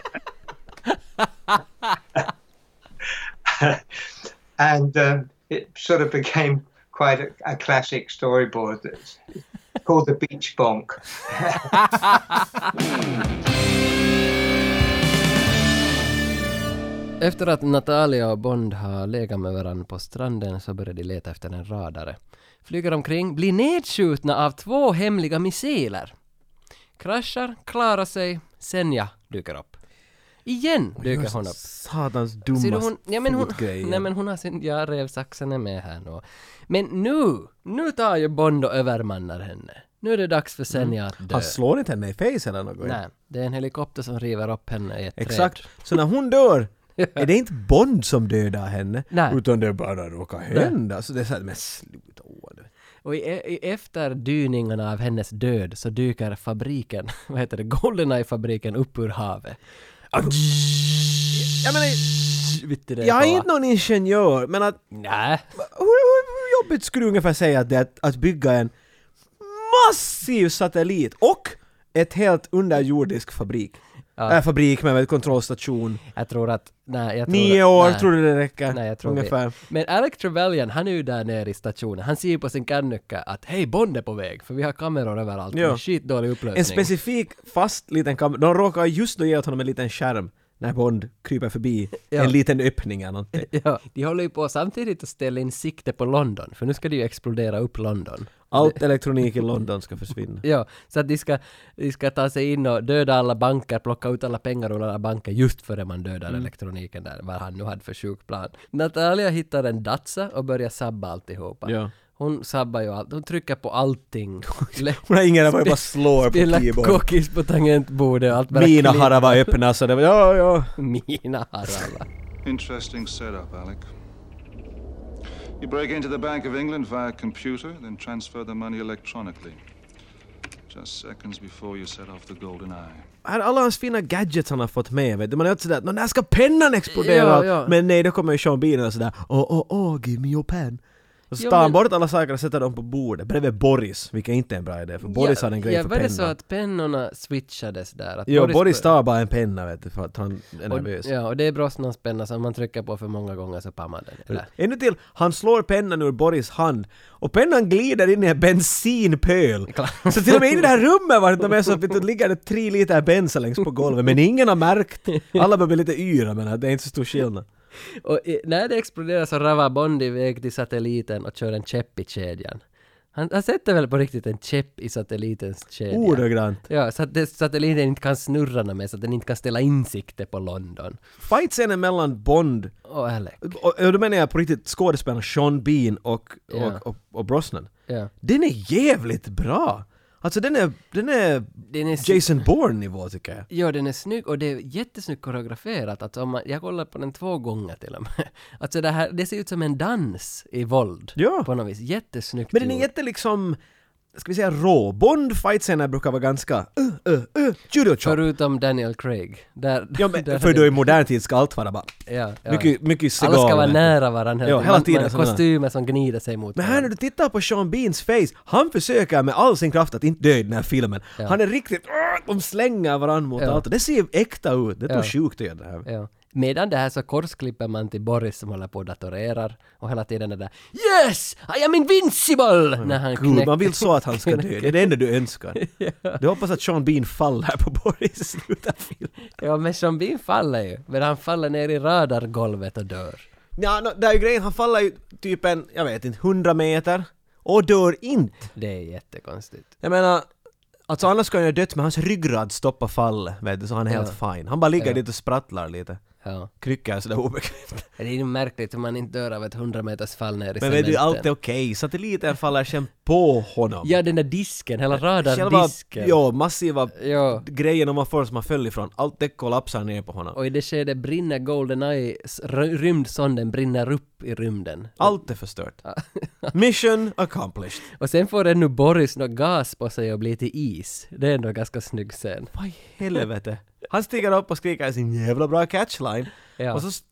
Speaker 4: and um, it sort of became quite a, a classic storyboard that's called the beach bonk.
Speaker 2: Efter att Natalia och Bond har legat med varandra på stranden så börjar de leta efter en radare. Flyger omkring, blir nedskjutna av två hemliga missiler. Kraschar, klarar sig, Senja dyker upp. Igen dyker hon upp.
Speaker 1: Satans
Speaker 2: Ser du
Speaker 1: dumma
Speaker 2: hon, ja, men hon,
Speaker 1: fotgrej.
Speaker 2: nej men hon har sin, ja rävsaxen är med här nu. Men nu, nu tar ju Bond och övermannar henne. Nu är det dags för Senja att dö.
Speaker 1: Han slår inte henne i face eller något.
Speaker 2: Nej, det är en helikopter som river upp henne i ett
Speaker 1: Exakt.
Speaker 2: träd.
Speaker 1: Så när hon
Speaker 2: *laughs*
Speaker 1: dör är det inte Bond som dödar henne.
Speaker 2: Nej.
Speaker 1: Utan det bara råkar hända. Så det är såhär, men sluta. åh, du.
Speaker 2: Och i, e, i efterdyningarna av hennes död så dyker fabriken, *laughs* vad heter det, Goldeneye-fabriken upp ur havet.
Speaker 1: Jag menar,
Speaker 2: Vitt i det
Speaker 1: jag är
Speaker 2: kolla.
Speaker 1: inte någon ingenjör men att
Speaker 2: Nej.
Speaker 1: hur, hur jobbigt skulle du ungefär säga att det är att, att bygga en massiv satellit och ett helt underjordisk fabrik.
Speaker 2: Ja.
Speaker 1: Äh, fabrik med en kontrollstation.
Speaker 2: Jag tror att... Nej, jag tror
Speaker 1: Nio
Speaker 2: att,
Speaker 1: år
Speaker 2: nej.
Speaker 1: tror du det räcker?
Speaker 2: Nej, jag tror
Speaker 1: ungefär.
Speaker 2: det. Men Alec Trevelyan, han är ju där nere i stationen. Han ser ju på sin kannucka att hej, Bond är på väg, för vi har kameror överallt.
Speaker 1: Ja.
Speaker 2: Ja. Skitdålig upplösning.
Speaker 1: En specifik fast liten kamera. De råkar just då ge åt honom en liten skärm när Bond kryper förbi
Speaker 2: *laughs* Ja.
Speaker 1: en liten öppning eller
Speaker 2: *laughs*
Speaker 1: någonting.
Speaker 2: *laughs* Ja, de håller ju på samtidigt att ställa in sikte på London, för nu ska det ju explodera upp London.
Speaker 1: Allt elektronik i London ska
Speaker 2: *laughs*
Speaker 1: försvinna. *laughs*
Speaker 2: Ja, så att de ska, de ska ta sig in och döda alla banker, plocka ut alla pengar ur alla banker just före man dödar
Speaker 1: Mm.
Speaker 2: elektroniken där, vad han nu hade för sjuk plan. Natalia hittar en Datsa och börjar sabba alltihopa.
Speaker 1: Ja.
Speaker 2: Hon sabbar ju allt, hon trycker på
Speaker 1: *laughs*
Speaker 2: allting.
Speaker 1: Hon har ingen aning, bara slår på
Speaker 2: Spela
Speaker 1: keyboard.
Speaker 2: kokis på tangentbordet och allt bara
Speaker 1: Mina
Speaker 2: klickar.
Speaker 1: harrar var öppna så det var ja, ja.
Speaker 2: *laughs* Mina harrar.
Speaker 8: Interesting setup, Alec. You break into the Bank of England via computer, then transfer the money electronically. Just seconds before you set off the golden eye.
Speaker 1: Här alla hans fina gadgets han har fått med vet du. Man är alltid sådär, "Nå, när ska pennan explodera?
Speaker 2: Ja, ja.
Speaker 1: Men nej, då kommer ju Sean Bean och sådär, åh, åh, åh, give me your pen. Och så
Speaker 2: Jo,
Speaker 1: tar han
Speaker 2: men-
Speaker 1: bort alla saker och sätter dem på bordet bredvid Boris, vilket inte är en bra idé för *laughs* Boris har en grej
Speaker 2: ja,
Speaker 1: för
Speaker 2: var
Speaker 1: pennan.
Speaker 2: det så att pennorna switchades där? Att
Speaker 1: Jo, Boris,
Speaker 2: bör-
Speaker 1: tar bara en penna vet du för att han är nervös.
Speaker 2: Och, ja, och det är Brosnans penna, så om man trycker på för många gånger så pammar den. Eller?
Speaker 1: Ännu till, han slår pennan ur Boris hand och pennan glider in i en
Speaker 2: *laughs*
Speaker 1: bensinpöl. Så till och med in i det här rummet var det de är så att det ligger det tre liter bensin längst på golvet men ingen har
Speaker 2: *laughs*
Speaker 1: märkt. Alla börjar bli lite yra men att det är inte så stor skillnad.
Speaker 2: Och i, när det exploderar så ravar Bond iväg till satelliten och kör en käpp i kedjan. Han, han sätter väl på riktigt en käpp i satellitens kedja?
Speaker 1: Ordagrant.
Speaker 2: Ja, så att det, satelliten inte kan snurra något mer, så att den inte kan ställa in sikte på London.
Speaker 1: Fightscenen mellan Bond
Speaker 2: Och Alec.
Speaker 1: och, och då menar jag på riktigt skådespelarna Sean Bean och,
Speaker 2: Ja.
Speaker 1: och, och, och Brosnan.
Speaker 2: Ja.
Speaker 1: Den är jävligt bra! Alltså den är, den är,
Speaker 2: Den är så-
Speaker 1: Jason Bourne nivå tycker jag.
Speaker 2: Ja, den är snygg och det är jättesnyggt koreograferat. Alltså, om man, jag kollar på den två gånger till och med. *laughs* Alltså det här, det ser ut som en dans i våld.
Speaker 1: Ja.
Speaker 2: På något vis. Jättesnyggt
Speaker 1: Men den är
Speaker 2: gjort.
Speaker 1: jätte liksom, ska vi säga rå. Bond fightscener brukar vara ganska uh, uh, uh, judo chop.
Speaker 2: Förutom Daniel Craig. Där,
Speaker 1: Ja,
Speaker 2: *laughs* där-
Speaker 1: men, för då i modern tid ska allt vara bara...
Speaker 2: Ja, ja.
Speaker 1: Mycket, mycket cigarr.
Speaker 2: Alla ska vara
Speaker 1: vet du.
Speaker 2: nära varandra.
Speaker 1: Ja, hela
Speaker 2: Man-
Speaker 1: tiden.
Speaker 2: Man,
Speaker 1: sådana.
Speaker 2: kostymer som gnider sig mot
Speaker 1: Men här när du tittar på Sean Beans face, han försöker med all sin kraft att inte dö i den här filmen.
Speaker 2: Ja.
Speaker 1: Han är riktigt... "Åh!" De slänger varandra mot
Speaker 2: Ja.
Speaker 1: allt och det ser äkta ut. Det är
Speaker 2: Ja.
Speaker 1: nog sjukt att göra det här.
Speaker 2: Ja. Medan det här så korsklipper man till Boris som håller på och datorerar och hela tiden är där Yes! I am invincible! när han
Speaker 1: Gud, Mm, man vill
Speaker 2: knäcker-
Speaker 1: så att han ska dö. Det är det enda du
Speaker 2: *laughs*
Speaker 1: önskar. Du hoppas att Sean Bean faller på Boris i slutet av filmen.
Speaker 2: Ja men zombien faller ju. Men han faller ner i radargolvet och dör.
Speaker 1: Ja, no, det är ju grejen, han faller ju typ en, jag vet inte, 100 meter och dör inte.
Speaker 2: Det är jättekonstigt.
Speaker 1: Jag menar, alltså annars skulle han ju ha dött men hans ryggrad stoppar fallet, vet du, så han är helt fine. Han bara ligger
Speaker 2: Ja.
Speaker 1: dit och sprattlar lite.
Speaker 2: Ja.
Speaker 1: kryckor sådär obekvämt.
Speaker 2: Det är ju märkligt hur man inte dör av ett 100 meters fall ner i
Speaker 1: Men är det ju
Speaker 2: cementen.
Speaker 1: alltid okej? Satelliten faller sen på honom.
Speaker 2: Ja, den där disken, hela
Speaker 1: Själva,
Speaker 2: radardisken.
Speaker 1: ja, massiva
Speaker 2: Ja.
Speaker 1: grejen om man får som man föll ifrån, allt det kollapsar ner på honom.
Speaker 2: Och i det skedet brinner GoldenEyes r- rymdsonden brinner upp i rymden.
Speaker 1: *laughs* Allt är förstört. Mission accomplished.
Speaker 2: Och sen får ännu Boris något gas på sig och blir till is. Det är ändå ganska snygg scen.
Speaker 1: Vad i *laughs* helvete? Han stiger upp och skriker sin jävla bra catchline.
Speaker 2: Ja.
Speaker 1: Och så st-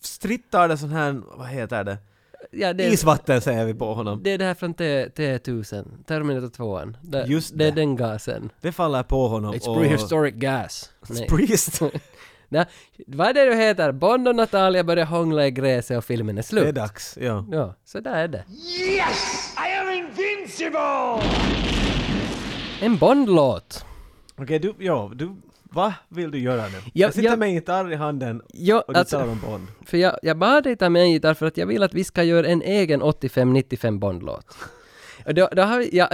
Speaker 1: strittar det sån här, vad heter det?
Speaker 2: Ja, det,
Speaker 1: Isvatten säger vi på honom.
Speaker 2: det är det här från T- T1000, Terminator 2. Det,
Speaker 1: Just
Speaker 2: det är
Speaker 1: det.
Speaker 2: den gasen.
Speaker 1: Det faller på honom
Speaker 2: It's
Speaker 1: och...
Speaker 2: prehistoric gas. Nej.
Speaker 1: Priest.
Speaker 2: *laughs* Nej, vad är det du heter? Bond och Natalia börjar hångla i gräset och filmen är slut.
Speaker 1: Det är dags, ja.
Speaker 2: Ja, så där är det.
Speaker 12: Yes! I am invincible!
Speaker 2: En Bond-låt.
Speaker 1: Okej, du, ja, du, vad vill du göra nu?
Speaker 2: Ja,
Speaker 1: jag sitter
Speaker 2: ja.
Speaker 1: med en gitarr i handen
Speaker 2: Ja,
Speaker 1: och du
Speaker 2: alltså-
Speaker 1: tar om Bond.
Speaker 2: För jag, jag bad dig ta med en gitarr för att jag vill att vi ska göra en egen 85-95 Bond-låt. Och Då, då har vi- ja,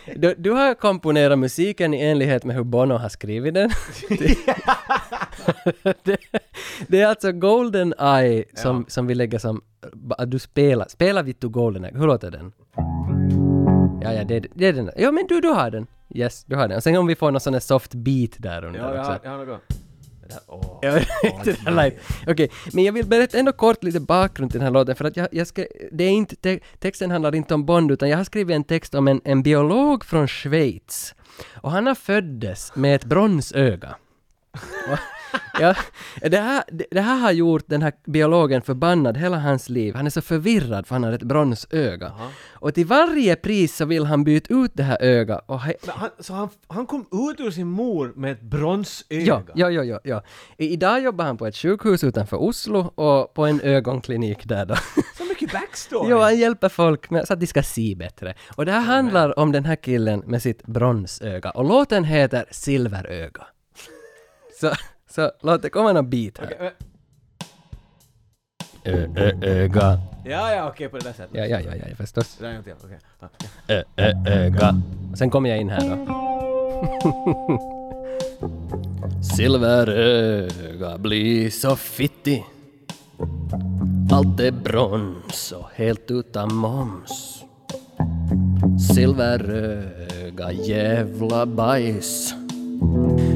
Speaker 2: *laughs* du, du har komponerat musiken i enlighet med hur Bono har skrivit den. *laughs* Det, det, det är alltså Golden Eye som, som vi lägger som... Att du spelar. Spela Vittu Golden Eye. Hur låter den? Ja, ja, det, det är den. Ja, men du, du har den. Yes, du har den. Och sen om vi får någon sån här soft beat där under också.
Speaker 1: har något.
Speaker 2: Ja, det där lät- Okej, men jag vill berätta ändå kort lite bakgrund till den här låten för att jag, jag ska, det är inte, te, texten handlar inte om Bond utan jag har skrivit en text om en, en biolog från Schweiz och han har föddes med ett bronsöga. *laughs* Och- Ja, det, här, det, det här har gjort den här biologen förbannad hela hans liv. Han är så förvirrad för han har ett bronsöga. Och till varje pris så vill han byta ut det här ögat. Och he-
Speaker 1: Men han, så han, han kom ut ur sin mor med ett
Speaker 2: Ja,
Speaker 1: bronsöga?
Speaker 2: ja, ja, ja, ja. I- Idag jobbar han på ett sjukhus utanför Oslo och på en ögonklinik där då.
Speaker 1: Så mycket backstory!
Speaker 2: *laughs* jo, han hjälper folk med, så att de ska se bättre. Och det här handlar om den här killen med sitt bronsöga och låten heter Silveröga. *laughs* så, så låt det komma någon bit här.
Speaker 1: Okej, men-
Speaker 2: Ö, ö, öga.
Speaker 1: ja, ja, okej på det där sättet.
Speaker 2: Ja, ja, ja, ja, förstås.
Speaker 1: Det där är en till, okej. Ja.
Speaker 2: Ö, ö, öga. Och sen kommer jag in här då. Silveröga blir så fittig. Allt är brons och helt utan moms. Silveröga jävla bajs.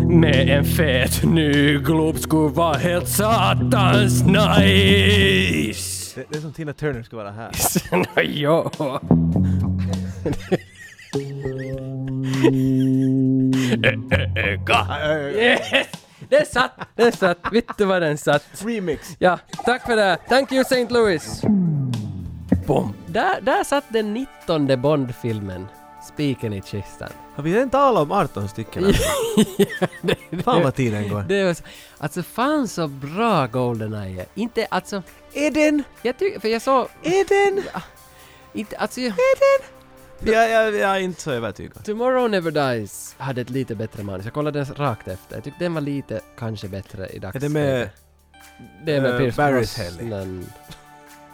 Speaker 2: Med en fet ny glob skulle vara helt satans nice.
Speaker 1: Det, det är som Tina Turner skulle vara här.
Speaker 2: Nå, ja. Öga. Yes! Den satt! Den satt! Vittu vad den satt!
Speaker 1: Remix!
Speaker 2: Ja, tack för det! Thank you St. Louis! Bom! Där, där satt den 19 Bond-filmen. Spiken i kistan.
Speaker 1: Har vi redan talat om 18 stycken? här? Fan vad tiden går.
Speaker 2: *laughs* Det var så, alltså fan så bra Goldeneye är. Inte alltså...
Speaker 1: Är den?
Speaker 2: Jag tycker... För jag såg...
Speaker 1: Är den?
Speaker 2: Inte, alltså, jag,
Speaker 1: Ja, ja, jag är inte så övertygad.
Speaker 2: Tomorrow Never Dies hade ett lite bättre manus. Jag kollade den rakt efter. Jag tyckte den var lite, kanske bättre i
Speaker 1: Är
Speaker 2: dagsläget.
Speaker 1: det med...
Speaker 2: Det är med
Speaker 1: eh,
Speaker 2: Pierce
Speaker 1: Barris
Speaker 2: Brosnan.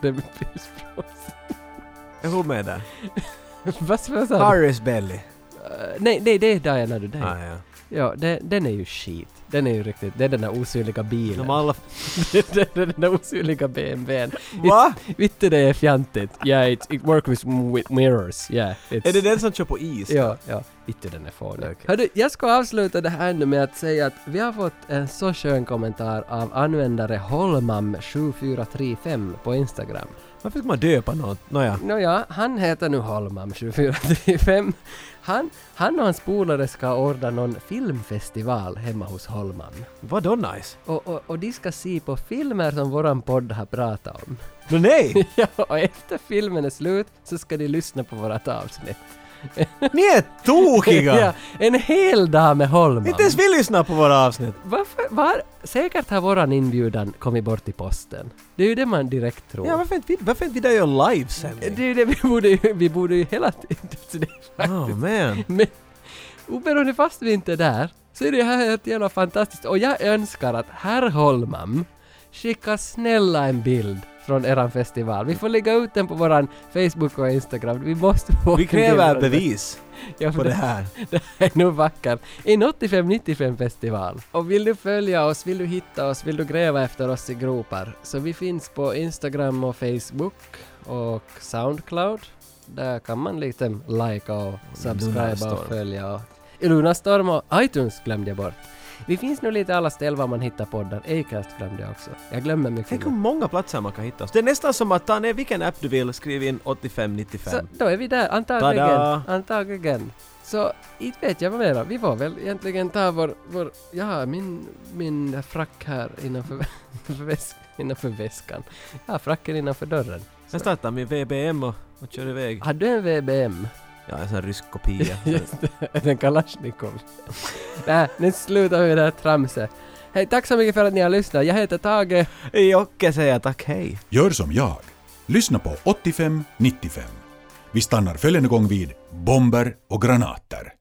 Speaker 2: Det är med Pierce Brosnan.
Speaker 1: Jag håller med där.
Speaker 2: *laughs* Vad vad sa du?
Speaker 1: Harris Belly.
Speaker 2: Eh, nej, nej, det är Diana du
Speaker 1: Ah,
Speaker 2: Nej.
Speaker 1: ja.
Speaker 2: Ja, det, den är ju skit. Den är ju riktigt... Det är den där osynliga bilen.
Speaker 1: De alla...
Speaker 2: *laughs* det är den där osynliga BMWn.
Speaker 1: Va?
Speaker 2: Vittu det är fjantigt. Yeah, it, it works with, with mirrors. Yeah, it's...
Speaker 1: Är det den som kör på is?
Speaker 2: Ja, ja. Vittu den är fånig. Hördu, jag ska avsluta det här nu med att säga att vi har fått en så skön kommentar av användare Holmam7435 på Instagram.
Speaker 1: Varför ska man döpa något? Nåja.
Speaker 2: Nåja, han heter nu Holmam7435. Han, han och hans polare ska ordna någon filmfestival hemma hos Holmam.
Speaker 1: Vadå
Speaker 2: *laughs*
Speaker 1: nice?
Speaker 2: Och, och, och de ska se på filmer som våran podd har pratat om. *laughs*
Speaker 1: Men nej!
Speaker 2: ja, och efter filmen är slut så ska de lyssna på vårat avsnitt.
Speaker 1: Ni är tokiga!
Speaker 2: *laughs* ja, en hel dag med Holmam.
Speaker 1: Inte ens vi lyssnar på våra avsnitt.
Speaker 2: Varför, var, säkert har våran inbjudan kommit bort i posten. Det är ju det man direkt tror.
Speaker 1: Ja, varför inte vi, varför inte vi där gör livesändning?
Speaker 2: det är ju det vi borde ju, vi borde ju hela tiden... så det är faktiskt-
Speaker 1: Oh man.
Speaker 2: Men oberoende fast vi inte är där, så är det här helt jävla fantastiskt. Och jag önskar att herr Holmam skickar snälla en bild från eran festival. Vi får lägga ut den på våran Facebook och Instagram. Vi måste få
Speaker 1: Vi
Speaker 2: en bild
Speaker 1: kräver
Speaker 2: av den.
Speaker 1: bevis
Speaker 2: Ja,
Speaker 1: på
Speaker 2: men
Speaker 1: det
Speaker 2: *laughs*
Speaker 1: här.
Speaker 2: Det här är nog vackert. En 85-95 festival. Och vill du följa oss, vill du hitta oss, vill du gräva efter oss i gropar så vi finns på Instagram och Facebook och Soundcloud. Där kan man lite likea och subscriba och
Speaker 1: Lunarstorm.
Speaker 2: följa. och- I Lunarstorm och iTunes glömde jag bort. Vi finns nu lite alla ställen var man hittar poddar. Acast glömde jag också. Jag glömmer mycket.
Speaker 1: Tänk
Speaker 2: nu.
Speaker 1: hur många platser man kan hitta oss. Det är nästan som att ta ner vilken app du vill, skriv in 8595.
Speaker 2: Så då är vi där, antagligen.
Speaker 1: Tada!
Speaker 2: Antagligen. Så inte vet jag vad mera. Vi får väl egentligen ta vår... vår ja, min, min frack här innanför, *laughs* väs, innanför väskan. Ja, fracken innanför dörren.
Speaker 1: Sen startar min VBM och, och kör iväg.
Speaker 2: Har du en VBM?
Speaker 1: Ja, en sån här rysk
Speaker 2: *laughs*
Speaker 1: kopia.
Speaker 2: Just det, en Kalashnikov. *laughs* Nej, nu slutar vi med det här tramset. Hej, tack så mycket för att ni har lyssnat. Jag heter Tage.
Speaker 1: Jocke säger tack hej.
Speaker 13: Gör som jag. Lyssna på 85-95. Vi stannar följande gång vid bomber och granater.